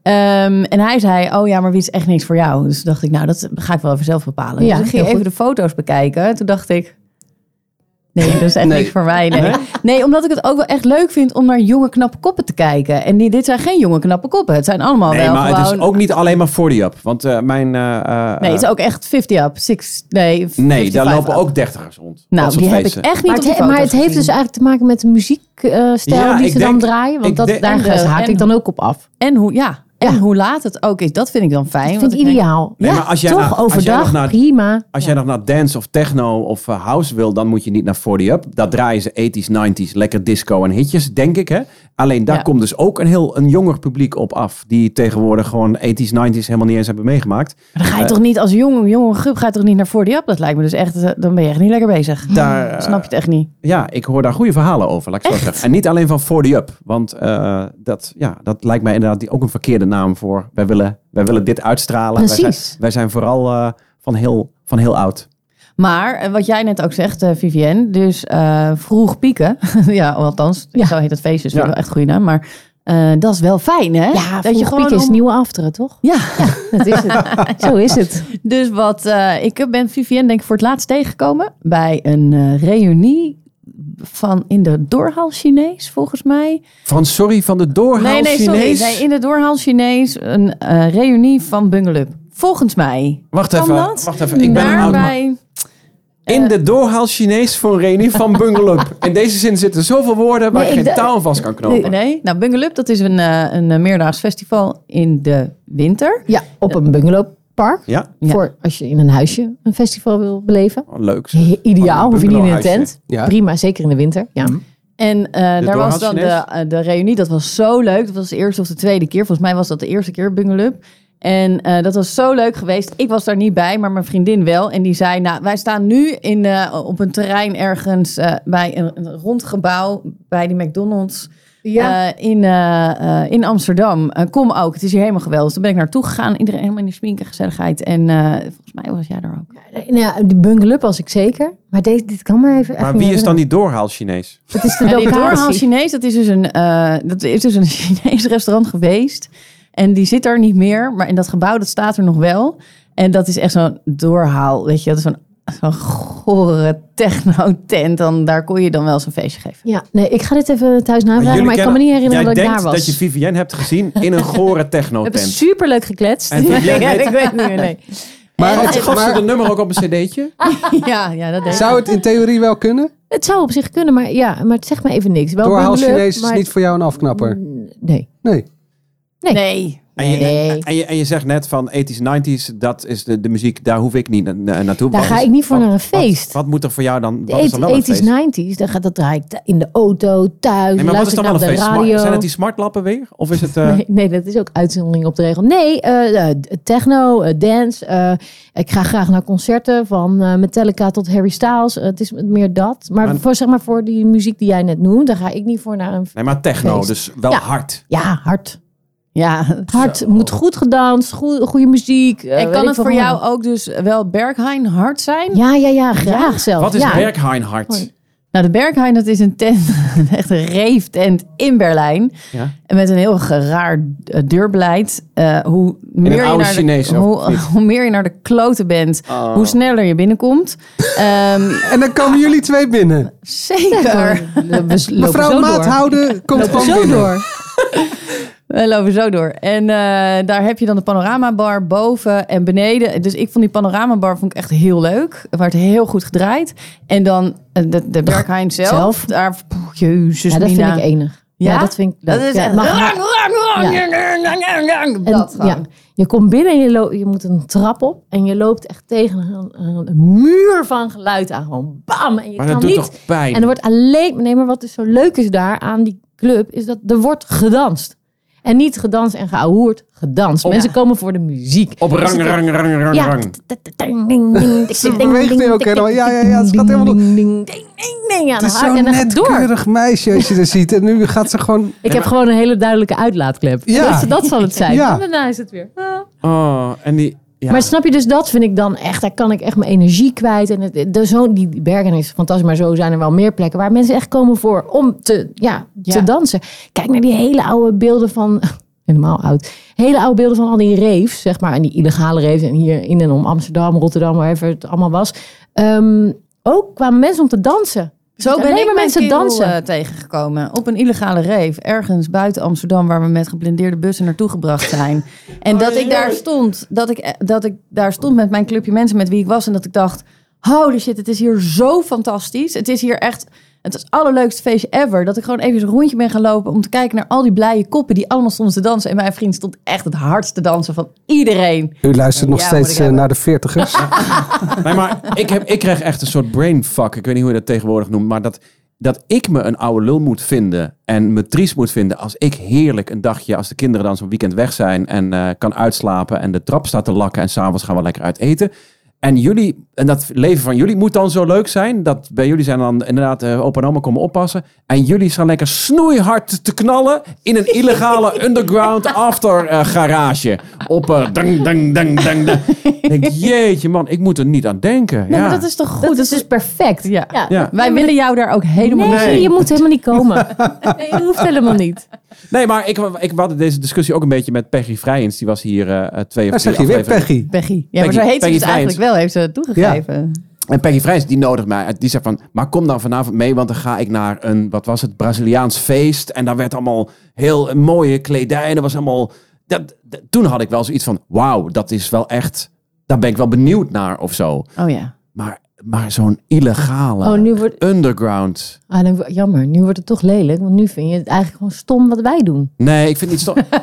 Ehm, en hij zei, oh ja, maar wie is echt niks voor jou? Dus dacht ik, nou, dat ga ik wel even zelf bepalen.
Ja,
dus ik ging
heel
even
goed.
de foto's bekijken. Toen dacht ik, nee, dat is echt
Nee.
niks voor mij. Nee.
Nee?
nee, omdat ik het ook wel echt leuk vind om naar jonge, knappe koppen te kijken. En die, dit zijn geen jonge, knappe koppen. Het zijn allemaal
Nee,
wel
maar
gewoon...
het is ook niet alleen maar 40 up. Want eh, mijn... eh, eh,
Nee, het is ook echt 50 up. Six, nee,
nee, daar
55
lopen
up.
ook dertigers rond. Dat
Nou,
soort
die heb ik
feesten.
echt niet op
Maar het,
die
he- maar
foto's
het heeft dus
gezien.
eigenlijk te maken met de muziekstijl eh,
Ja,
die
ik
ze dan
denk-
draaien.
ik
Want dat,
denk-
daar eh,
en de-
haak
dus en-
ik dan ook op af.
En hoe, ja. En hoe laat het ook is, dat vind ik dan fijn.
Ik
want
vind
ik
het
denk,
ideaal.
Nee,
ja,
maar als jij
toch
nou- als jij
overdag,
nog naar-
prima.
Als jij nog naar dance of techno of eh, house wil, dan moet je niet naar 40 Up. Daar draaien ze 80s, 90s, lekker disco en hitjes, denk ik. Hè? Alleen daar
Ja.
komt dus ook een heel een jonger publiek op af. Die tegenwoordig gewoon 80s, 90s helemaal niet eens hebben meegemaakt.
Maar dan ga je
Eh,
toch niet als jonge, jonge gup, ga je toch niet naar voor die app? Dat lijkt me dus echt, eh, dan ben je echt niet lekker bezig.
Daar, eh,
*laughs* Snap je het echt niet?
Ja, ik hoor daar goede verhalen over. Laat ik het zo zeggen. En niet alleen van 40 Up. Want eh, dat, ja, dat lijkt mij inderdaad die- ook een verkeerde naam voor. Wij willen, wij willen dit uitstralen. Wij
Precies.
zijn, wij zijn vooral eh, van, heel, van heel oud.
Maar eh, wat jij net ook zegt, eh Vivienne, dus eh, vroeg pieken. *laughs* ja, althans,
Ja.
zo heet dat feest, dus
Ja.
wel echt een goede naam. Maar eh, dat is wel fijn, hè?
Ja,
dat je gewoon
piek is
om-
nieuwe afteren, toch?
Ja, *laughs*
Dat is *laughs* het. Zo is het.
dus wat eh, ik ben Vivienne denk ik voor het laatst tegengekomen bij een eh, reunie van in de doorhal Chinees, volgens mij.
Van sorry, van de doorhaal
nee, nee,
Chinees.
sorry. Nee, in de doorhal Chinees een eh, reunie van Bungalow. Volgens mij.
wacht
Kan
even,
dat?
wacht even. Ik ben een oud man.
Daarbij...
eh,
In de doorhaal Chinees voor Reni van Bungalup.
*laughs*
In deze zin zitten zoveel woorden waar
Nee,
ik
ik
geen
d-
taal aan vast kan knopen.
Nee, nou Bungalow dat is een, eh, een eh, meerdaags festival in de winter.
Ja, op een bungalowpark.
Ja,
Ja.
Voor als je in een huisje een festival wil beleven.
oh, leuk. zeg.
He- Ideaal,
Een
hoef je niet in een
bungalowhuisje.
tent.
Ja.
Prima, zeker in de winter. Ja.
En eh, daar
Doorhaal
was dan de,
Chinees?
eh, de reunie. Dat was zo leuk. Dat was de eerste of de tweede keer. Volgens mij was dat de eerste keer Bungalow. En eh, dat was zo leuk geweest. Ik was daar niet bij, maar mijn vriendin wel. En die zei, nou, wij staan nu in, eh, op een terrein ergens eh, bij een, een rond gebouw bij die McDonald's. eh, in, eh, eh, in Amsterdam. Eh, kom ook, het is hier helemaal geweldig. Dus toen ben ik naartoe gegaan. Iedereen helemaal in de smink en gezelligheid. En eh, volgens mij was jij daar ook.
Nou ja, die bungalop was ik zeker. Maar deze, dit kan maar even...
Maar
even
wie
niet
is dan die doorhaal Chinees?
Het is de
En die doorhaal
locatie.
Chinees, dat is dus een, eh, dat is dus een *laughs* Chinees restaurant geweest. En die zit daar niet meer, maar in dat gebouw, dat staat er nog wel. En dat is echt zo'n doorhaal, weet je, dat is zo'n zo'n gore techno-tent. Dan, daar kon je dan wel eens een feestje geven.
Ja, nee, ik ga dit even thuis navragen. Maar ik kan me niet herinneren
jij
dat ik
denkt
daar was.
dat je Vivienne hebt gezien in een gore
*laughs* We hebben
techno-tent.
superleuk gekletst.
*laughs*
En Vivienne
Ja,
weet-
ik weet het niet meer, nee.
Maar,
Gaf ze- gaf ze
maar
de nummer ook op een
*laughs*
cd'tje?
*laughs*
Ah,
Ja, ja, dat deed ik.
zou het in theorie wel kunnen?
*laughs* Het zou op zich kunnen, maar ja, maar het zegt me even niks. Wel
Doorhaal
bungalop,
Chinees is
maar-
niet voor jou een afknapper.
Mm.
Nee.
Nee.
Nee.
En je,
Nee.
en, je, en je zegt net van 80s, 90s, dat is de, de muziek, daar hoef ik niet na, na- naartoe.
Daar
Wat
ga
is-
ik niet voor
wat-
naar een
wat-
feest.
Wat, moet er voor jou dan,
De
wat is dan wel een
80s,
feest?
90s, dan gaat dat draai ik th- in de auto, thuis,
Nee, maar wat is
luister
dan
ik
wel een
naar de
feest? Smart-
radio.
zijn het die smartlappen weer? Of is het... eh,
Nee, nee, dat is ook uitzondering op de regel. Nee, eh, eh, techno, eh, dance. eh, ik ga graag naar concerten van eh, Metallica tot Harry Styles. Eh, het is meer dat. Maar,
Maar-
voor, zeg maar voor die muziek die jij net noemt, daar ga ik niet voor naar een...
nee, maar techno,
Feest.
dus wel
Ja.
hard.
Ja, hard.
Ja,
Hard moet goed gedanst, goe- goede muziek. eh,
en
weet
kan
ik
het
veel
voor
wat.
jou ook dus wel Berghain hard zijn?
Ja, ja, ja, graag zelf.
Wat is
ja.
Berghain hard?
Nou, de Berghain, dat is een tent, *laughs* een echt een reeftent in Berlijn.
Ja.
En met een heel raar eh, deurbeleid. Eh, hoe, meer je
oude
naar
Chinees,
de,
of
hoe, *laughs*
niet? Oh.
hoe meer je naar de kloten bent, hoe sneller je
*laughs*
binnenkomt. Ehm,
En dan komen jullie twee binnen.
zeker.
Mevrouw
houdt
Maathouden komt
het
gewoon
zo
binnen.
door.
We lopen zo door. En eh, daar heb je dan de panoramabar boven en beneden. Dus ik vond die panoramabar vond ik echt heel leuk. Er werd heel goed gedraaid. En dan eh, de, de Berghain zelf.
zelf?
Daar, poeh, jezus,
Ja, dat vind
Mina.
ik enig. Ja, dat vind ik leuk.
Dat is
Ja,
echt...
mag- En,
Dat gewoon.
ja, je komt binnen en je, lo- je moet een trap op. En je loopt echt tegen een, een- een muur van geluid aan. Gewoon bam! En je
Maar
kan
dat doet
niet.
toch pijn?
En er wordt alleen... Nee, maar wat dus zo leuk is daar aan die club... is dat er wordt gedanst. En niet gedanst en geouwehoerd. Gedanst. Mensen komen voor de muziek.
Op
Dus
rang,
het-
rang, rang, rang,
Ja.
rang.
Ze beweegt nu ook helemaal. Ja, ja, ja, het gaat helemaal door.
Ja,
Het is
dan-
zo'n
en dan gaat
net
het door.
keurig meisje als je er ziet. En nu gaat ze gewoon...
Ik heb gewoon een hele duidelijke uitlaatklep.
Ja.
Dat, dat zal het zijn.
Ja.
En daarna is het weer.
Oh, en die... Ja.
Maar snap je, dus dat vind ik dan echt, daar kan ik echt mijn energie kwijt. En het, de, zo, die bergen is fantastisch, maar zo zijn er wel meer plekken waar mensen echt komen voor om te, ja, te
Ja.
dansen. Kijk naar die hele oude beelden van, *laughs* helemaal oud, hele oude beelden van al die raves, zeg maar, en die illegale raves en hier in en om Amsterdam, Rotterdam, waarver het allemaal was. Ehm, ook kwamen mensen om te dansen. Dus
Zo ben
alleen
ik
maar
mijn
mensen
kerel,
dansen.
eh, tegengekomen. Op een illegale reef. Ergens buiten Amsterdam. Waar we met geblindeerde bussen naartoe gebracht
*laughs*
zijn. En
Oh,
dat ik daar stond. Dat ik, eh, dat ik daar stond met mijn clubje mensen met wie ik was. En dat ik dacht. Holy shit, het is hier zo fantastisch. Het is hier echt. Het was het allerleukste feestje ever. Dat ik gewoon even een rondje ben gaan lopen om te kijken naar al die blije koppen die allemaal stonden te dansen. En mijn vriend stond echt het hardst te dansen van iedereen.
U luistert nog
Ja, moet
steeds
ik
eh,
hebben.
naar de veertigers.
Nee, maar ik, heb, ik krijg echt een soort brainfuck. Ik weet niet hoe je dat tegenwoordig noemt. Maar dat, dat ik me een oude lul moet vinden. En me triest moet vinden. Als ik heerlijk een dagje, als de kinderen dan zo'n weekend weg zijn. En eh, kan uitslapen. En de trap staat te lakken. En s'avonds gaan we lekker uit eten. En jullie, en dat leven van jullie moet dan zo leuk zijn. Dat bij jullie zijn dan inderdaad eh, opa en oma komen oppassen. En jullie staan lekker snoeihard te knallen in een illegale underground after eh, garage. Op eh, dang, dang, dang, dang, dang. Ik denk, jeetje man, ik moet er niet aan denken.
Nee,
ja.
maar dat is toch goed?
Dat
Dat,
is
is dus perfect.
Ja.
Ja.
Wij willen jou daar ook helemaal
Nee,
niet
Nee.
je moet helemaal niet komen. Nee, dat hoeft helemaal niet.
Nee, maar ik, ik we hadden deze discussie ook een beetje met Peggy Vrijens. Die was hier eh twee
Daar
of
zeg
drie
je weer,
afleveringen-
Peggy.
Peggy. Ja, maar
Peggy-
zo heet ze
Peggy
dus
Vrijens.
eigenlijk wel, heeft ze toegegeven.
En Peggy Vrijs, die nodigt mij. uit. Die zei van, maar kom dan vanavond mee, want dan ga ik naar een, wat was het, Braziliaans feest. En daar werd allemaal heel mooie kledij. En er was allemaal... Dat, dat- toen had ik wel zoiets van, wauw, dat is wel echt... Daar ben ik wel benieuwd naar of zo.
Oh ja.
Maar, maar zo'n illegale
Oh, nu wordt,
underground...
ah, dan, wo- jammer, nu wordt het toch lelijk. Want nu vind je het eigenlijk gewoon stom wat wij
*laughs*
doen.
Nee, ik
*laughs*
vind het niet zo...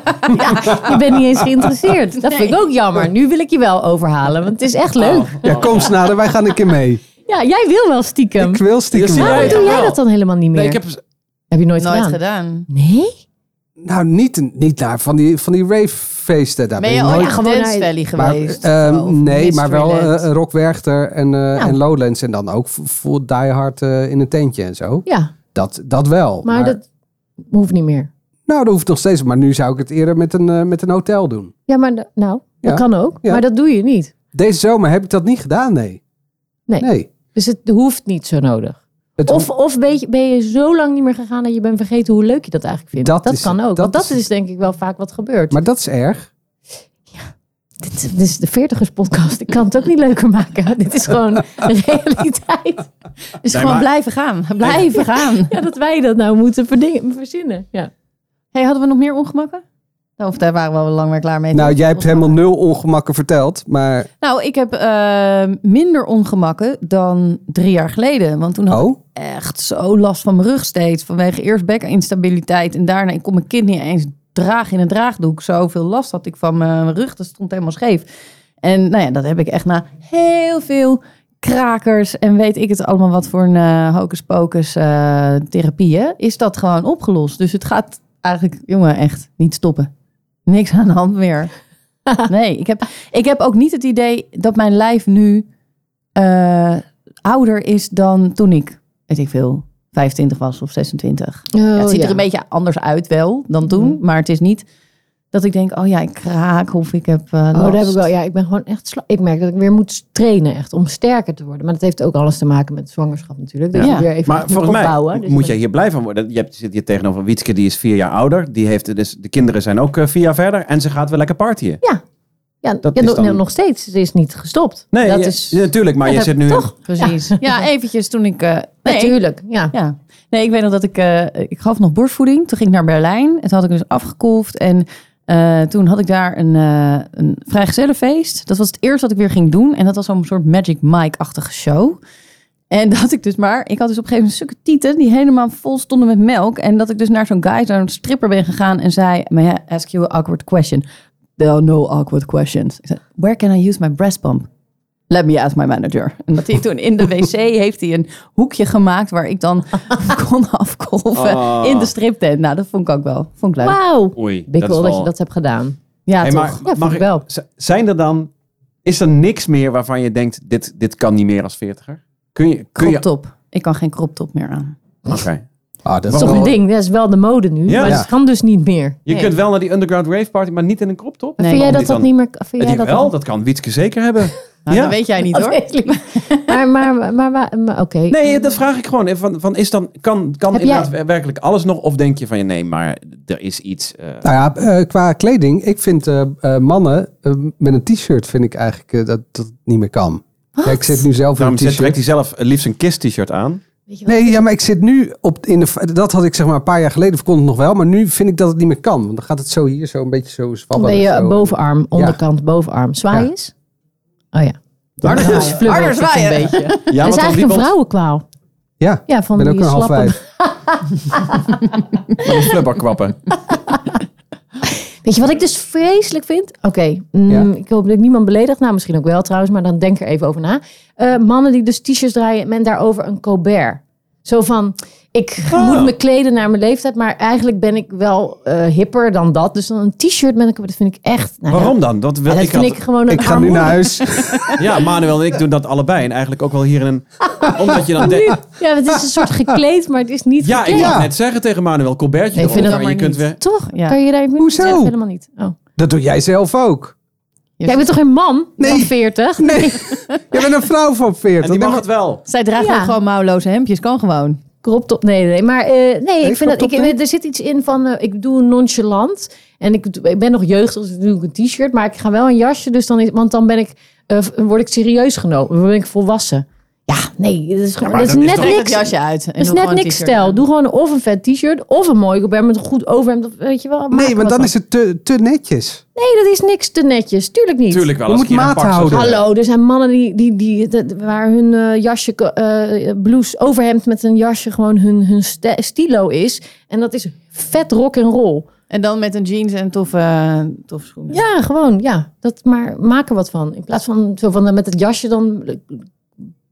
Je bent niet eens geïnteresseerd. Dat vind ik ook jammer. Nu wil ik je wel overhalen, want het is echt leuk.
Ja, kom snader, wij gaan een keer mee.
Ja, jij wil wel stiekem.
Ik wil
Ja,
stiekem
zie
wel.
Waarom
Nee,
doe jij
wel.
dat dan helemaal niet meer?
Nee, ik heb...
Heb je nooit,
Nooit
gedaan?
gedaan.
Nee?
Nou, niet, niet naar van die, van die ravefeesten. Daar
Ben je
ik
ooit
nooit-
naar
Ja, gewoon
Dance
naar-
Valley
Maar,
geweest?
ehm,
Of
nee, maar wel
Mysteryland?
eh, Rock Werchter en, eh,
Nou.
en Lowlands. En dan ook vo- voor Die Hard eh, in een tentje en zo.
Ja,
Dat, dat wel.
maar, dat hoeft niet meer.
Nou, dat hoeft nog steeds. Maar nu zou ik het eerder met een, eh, met een hotel doen.
Ja, maar da- nou,
Ja.
dat kan ook.
Ja.
Maar dat doe je niet.
Deze zomer heb ik dat niet gedaan, nee.
Nee. Dus het hoeft niet zo nodig.
Het-
Of, of ben, je, ben je zo lang niet meer gegaan dat je bent vergeten hoe leuk je dat eigenlijk vindt.
Dat
Dat,
is-
kan ook.
dat
want dat
is-
is denk ik wel vaak wat gebeurt.
Maar dat is erg.
Dit, dit is de 40ers podcast. Ik kan het ook niet leuker maken. *laughs* Dit is gewoon realiteit.
Dus
Nee,
gewoon
maar-
blijven gaan. *laughs* Blijven gaan.
Ja, dat wij dat nou moeten verdingen- verzinnen. Ja.
Hey, hadden we nog meer ongemakken? Nou, Of daar waren we al lang weer klaar mee.
Nou,
Toch?
jij hebt helemaal nul ongemakken verteld. Maar,
Nou, ik heb eh, minder ongemakken dan drie jaar geleden. Want toen had ik
oh,
echt zo last van mijn rug steeds. Vanwege eerst bekkeninstabiliteit. En daarna ik kon mijn kind niet eens dragen in een draagdoek. Zoveel last had ik van mijn rug. Dat stond helemaal scheef. En nou ja, dat heb ik echt na heel veel krakers en weet ik het allemaal wat voor een eh hocus pocus eh, therapieën. Is dat gewoon opgelost. Dus het gaat eigenlijk, jongen, echt niet stoppen. Niks aan de hand meer. Nee, ik heb, ik heb ook niet het idee dat mijn lijf nu eh, ouder is dan toen ik, weet ik veel, 25 was of 26. Ja,
Oh,
het ziet er een beetje anders uit wel dan toen,
Mhm.
maar het is niet dat ik denk, oh ja, ik kraak of ik heb eh
Oh, dat heb
last.
ik wel. Ja, ik ben gewoon echt sla- Ik merk dat ik weer moet trainen echt om sterker te worden. Maar dat heeft ook alles te maken met zwangerschap natuurlijk. Dat
Ja.
je weer even
Maar
moet
volgens mij
opbouwen. Dus
moet
dat-
jij hier blij van worden. Je hebt, zit hier tegenover Wietske, die is vier jaar ouder. Die heeft, dus de kinderen zijn ook eh, vier jaar verder. En ze gaat weer lekker partyen.
Ja,
dat
ja,
is
no-
dan-
nog steeds. Ze is niet gestopt.
Nee,
dat
je-
is
ja, natuurlijk. Maar
Ja,
je
dat-
zit nu...
toch?
Precies. Ja, eventjes toen ik... eh, nee,
*laughs* natuurlijk. Ja.
Ja. Nee, ik weet nog dat ik... eh, ik gaf nog borstvoeding. Toen ging ik naar Berlijn. En toen had ik dus afgekolfd. En eh, toen had ik daar een, eh een vrijgezellenfeest. Dat was het eerste wat ik weer ging doen. En dat was zo'n soort Magic Mike-achtige show. En *laughs* dat ik dus maar... Ik had dus op een gegeven moment stukken tieten... die helemaal vol stonden met melk. En dat ik dus naar zo'n guy, zo'n stripper ben gegaan... en zei, may I ask you an awkward question? There are no awkward questions. Ik zei, where can I use my breast pump? Let me ask my manager. En dat hij toen in de wc heeft hij een hoekje gemaakt waar ik dan *laughs* kon afkolven
Ah.
in de striptent. Nou, dat vond ik ook wel. Vond ik leuk.
Wauw.
Oei,
Bikkel dat,
is wel-
je dat hebt gedaan.
Ja,
Hey,
toch.
maar
Ja,
mag
vind
ik
ik wel.
z- Zijn er dan... Is er niks meer waarvan je denkt, dit, dit kan niet meer als veertiger? Kun je... Kun je
crop top. Ik kan geen crop top meer aan.
Oké.
ah, dat
Dat
is
is toch
wel-
een ding. Dat is wel de mode nu.
Ja.
Maar
Ja.
dat kan dus niet meer.
Je
Nee.
kunt wel naar die underground rave party, maar niet in een crop top?
Nee.
vind jij
Waarom
dat
niet
dat
dan?
niet meer... Vind jij
Het is
dat
wel,
dan-
dat kan Wietske zeker
*laughs*
hebben.
Nou,
Ja.
Dat weet jij niet hoor.
Maar, maar, maar, maar, maar, maar oké.
Nee, dat vraag ik gewoon. Van, van is dan, kan kan
Heb
inderdaad werkelijk alles nog? Of denk je van, ja, nee, maar er is iets... eh,
Nou ja, eh, qua kleding. Ik vind eh, eh, mannen eh, met een t-shirt vind ik eigenlijk eh, dat dat het niet meer kan. Ja, ik zit nu zelf in
Daarom
een
zet- trekt
t-shirt.
hij zelf eh, liefst een KISS-t-shirt aan.
Weet je wat?
Nee, ja, maar ik zit nu op in de. Dat had ik zeg maar een paar jaar geleden verkond het nog wel, maar nu vind ik dat het niet meer kan, want dan gaat het zo hier zo een beetje zo zwabbelen.
ben je
zo.
bovenarm, onderkant, bovenarm. Zwaai
Ja.
is? Oh ja.
Maar
Dan flubbelt het
Harder zwaaien.
een beetje.
Ja,
dat is
want dan
eigenlijk
wiebelt-
een vrouwenkwaal.
Ja,
Ja, van
ik ben ook
die
een half
slappe
wijf.
Van die flubberkwappen.
*laughs* Weet je wat ik dus vreselijk vind? Oké, mm,
Ja.
ik hoop dat ik niemand beledigd. Nou, misschien ook wel trouwens, maar dan denk er even over na. Eh, mannen die dus t-shirts draaien en men daarover een Colbert. Zo van, ik
Ah.
moet me kleden naar mijn leeftijd, maar eigenlijk ben ik wel eh, hipper dan dat. Dus dan een t-shirt met een Colbert, dat vind ik echt... nou ja,
Waarom dan? Dat, wil,
ja, dat
ik
vind
had-
ik gewoon een
Ik ga nu
armoedig-
naar
*laughs*
huis.
Ja, Manuel en ik doen dat allebei. En eigenlijk ook wel hier in een... Omdat je dan denkt...
Ja, het is een soort gekleed, maar het is niet
Ja, ik
gekleed.
wou
Ja.
net zeggen tegen Manuel Colbertje.
Nee, ik vind
erover
dat
en je
maar
kunt
niet.
weer...
Toch?
Ja.
Kan je daar niet
Hoezo?
Echt helemaal niet. Oh.
Dat doe jij zelf ook.
Jij bent toch geen man?
Nee.
Van 40?
Nee, je bent een vrouw van 40.
En die mag het wel.
Zij dragen
Ja.
ook gewoon mouwloze hemdjes, kan gewoon.
Crop top, nee, nee, nee. Maar eh, nee, ik vind dat,
crop
ik,
top niet?
er zit iets in van, eh, ik doe nonchalant. En ik, ik ben nog jeugdig, dus doe ik een t-shirt. Maar ik ga wel een jasje, dus dan is, want dan ben ik, eh, word ik serieus genomen. Dan ben ik volwassen. Ja, nee, dat is, gewoon,
maar
dat is
dat is
net
toch-
Trek dat
niks. Dat
jasje uit. En
is net niks stijl. Doe gewoon of een vet t-shirt, of een mooi Colbert met een goed overhemd. of Weet je wel. maak
Nee,
er
want dan
wat van.
is het te, te netjes.
Nee, dat is niks te netjes. Tuurlijk niet.
Tuurlijk wel.
Je
als
moet
ik hier een
maat
pak zou
houden.
doen.
Hallo, er zijn mannen die, die, die, dat- waar hun eh, jasje, eh, blouse, overhemd met een jasje gewoon hun, hun st- stilo is. En dat is vet rock en roll.
En dan met een jeans en toffe, eh, toffe schoenen.
Ja, gewoon, ja. Dat, maar maak er wat van. In plaats van, zo van eh, met het jasje, dan eh,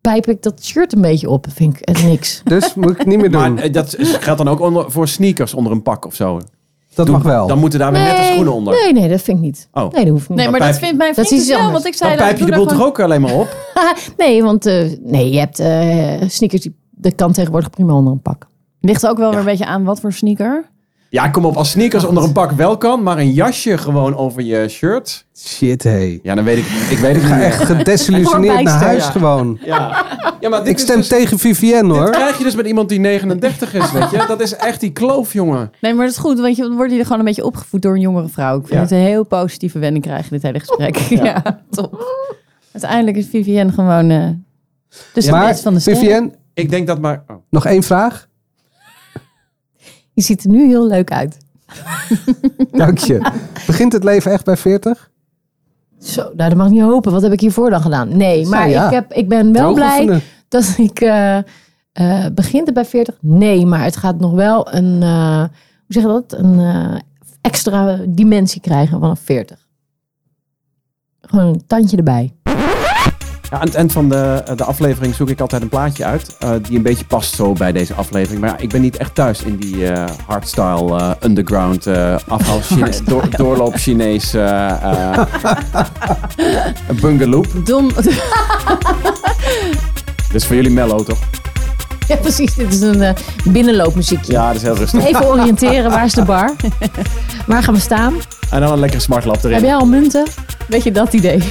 pijp ik dat shirt een beetje op. Vind ik eh, niks.
Dus moet ik het niet meer doen.
Maar eh, dat is- gaat dan ook onder, voor sneakers onder een pak of zo.
dat mag wel.
Dan moeten daar weer net de schoenen onder.
nee, nee, dat vind ik niet.
Oh.
Nee, dat hoeft niet.
Nee, maar
pijp
dat
je-
vindt mijn vriend
is
dus
iets
wel,
anders.
want ik zei
Dan
dat.
pijp je de bol er ook alleen maar op.
*laughs* nee want eh, nee, je hebt eh, sneakers, die, dat kan tegenwoordig prima onder een pak.
Ligt ook wel weer een beetje aan wat voor sneaker.
Ja, kom op. Als sneakers onder een pak wel kan, maar een jasje gewoon over je shirt.
Shit, hé.
Ja, dan weet ik, ik weet het niet
Ik ga *laughs*
meer.
echt
*laughs*
gedesillusioneerd naar
Voorbijster,
huis
ja.
gewoon.
Ja, ja maar dit
Ik
is
stem
dus-
tegen Vivienne
Dit
hoor.
krijg je dus met iemand die 39 is, weet je. Dat is echt die kloof, jongen.
Nee, maar dat is goed, want je, dan word je er gewoon een beetje opgevoed door een jongere vrouw. Ik vind
Ja.
het een heel positieve wending krijgen, dit hele gesprek. ja. top. Uiteindelijk is Vivienne gewoon eh de
Maar
spits van de sterren.
Vivienne,
Ik denk dat maar... oh.
nog één vraag.
Je ziet er nu heel leuk uit.
Dank je. Begint het leven echt bij 40?
Zo, nou, dat mag ik niet hopen. Wat heb ik hiervoor dan gedaan? Nee, maar
ja.
ik, heb, ik ben wel
Droog
blij
oefenen.
dat ik... eh, eh, begint het bij 40? Nee, maar het gaat nog wel een... eh, hoe zeg je dat? Een eh, extra dimensie krijgen vanaf 40. Gewoon een tandje erbij. *laughs*
Ja, aan het eind van de, eh, de aflevering zoek ik altijd een plaatje uit. eh, die een beetje past zo bij deze aflevering. Maar ja, ik ben niet echt thuis in die eh, hardstyle eh, underground eh afhaal Chine- door- doorloop Chinees eh eh,
*laughs*
bungalow.
Dom, *laughs*
Dus voor jullie mellow toch?
Ja, precies. Dit is een eh, binnenloopmuziekje.
Ja, dat is heel rustig.
Even oriënteren. Waar is de
*laughs*
bar? Waar gaan we staan?
En dan Ah, nou, een lekkere smartlap
Heb
erin.
jij al munten? *laughs* Weet je dat idee?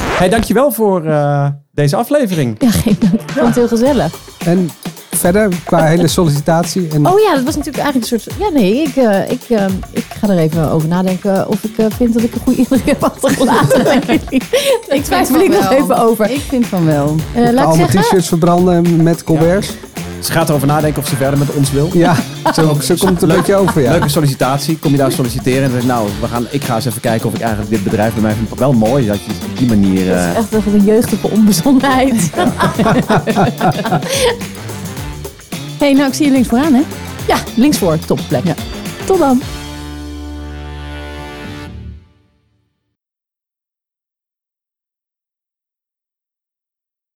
Hey, dankjewel voor eh, deze aflevering.
Ja, geen dank. Ik vond het heel gezellig.
En verder, qua hele sollicitatie. En
Oh ja, dat was natuurlijk eigenlijk een soort. Ja, nee, ik, eh, ik, eh, ik ga er even over nadenken of ik eh, vind dat ik een goede indruk heb achtergelaten. Denk ik niet. ik twijfel ik nog even over.
Ik vind van wel.
Eh, laat
al mijn
ik zeggen.
t-shirts verbranden met Colbert's.
Ze gaat erover nadenken of ze verder met ons wil.
Ja, zo, zo komt het een beetje over. Ja.
Leuke sollicitatie. Kom je daar solliciteren en zeg nou, we gaan, ik ga eens even kijken of ik eigenlijk dit bedrijf bij mij vind. Wel mooi dat je op die manier... eh,
Echt nog een jeugdige onbezonnenheid.
hey, nou ik zie je links vooraan, hè?
ja, linksvoor, topplek. Tot dan.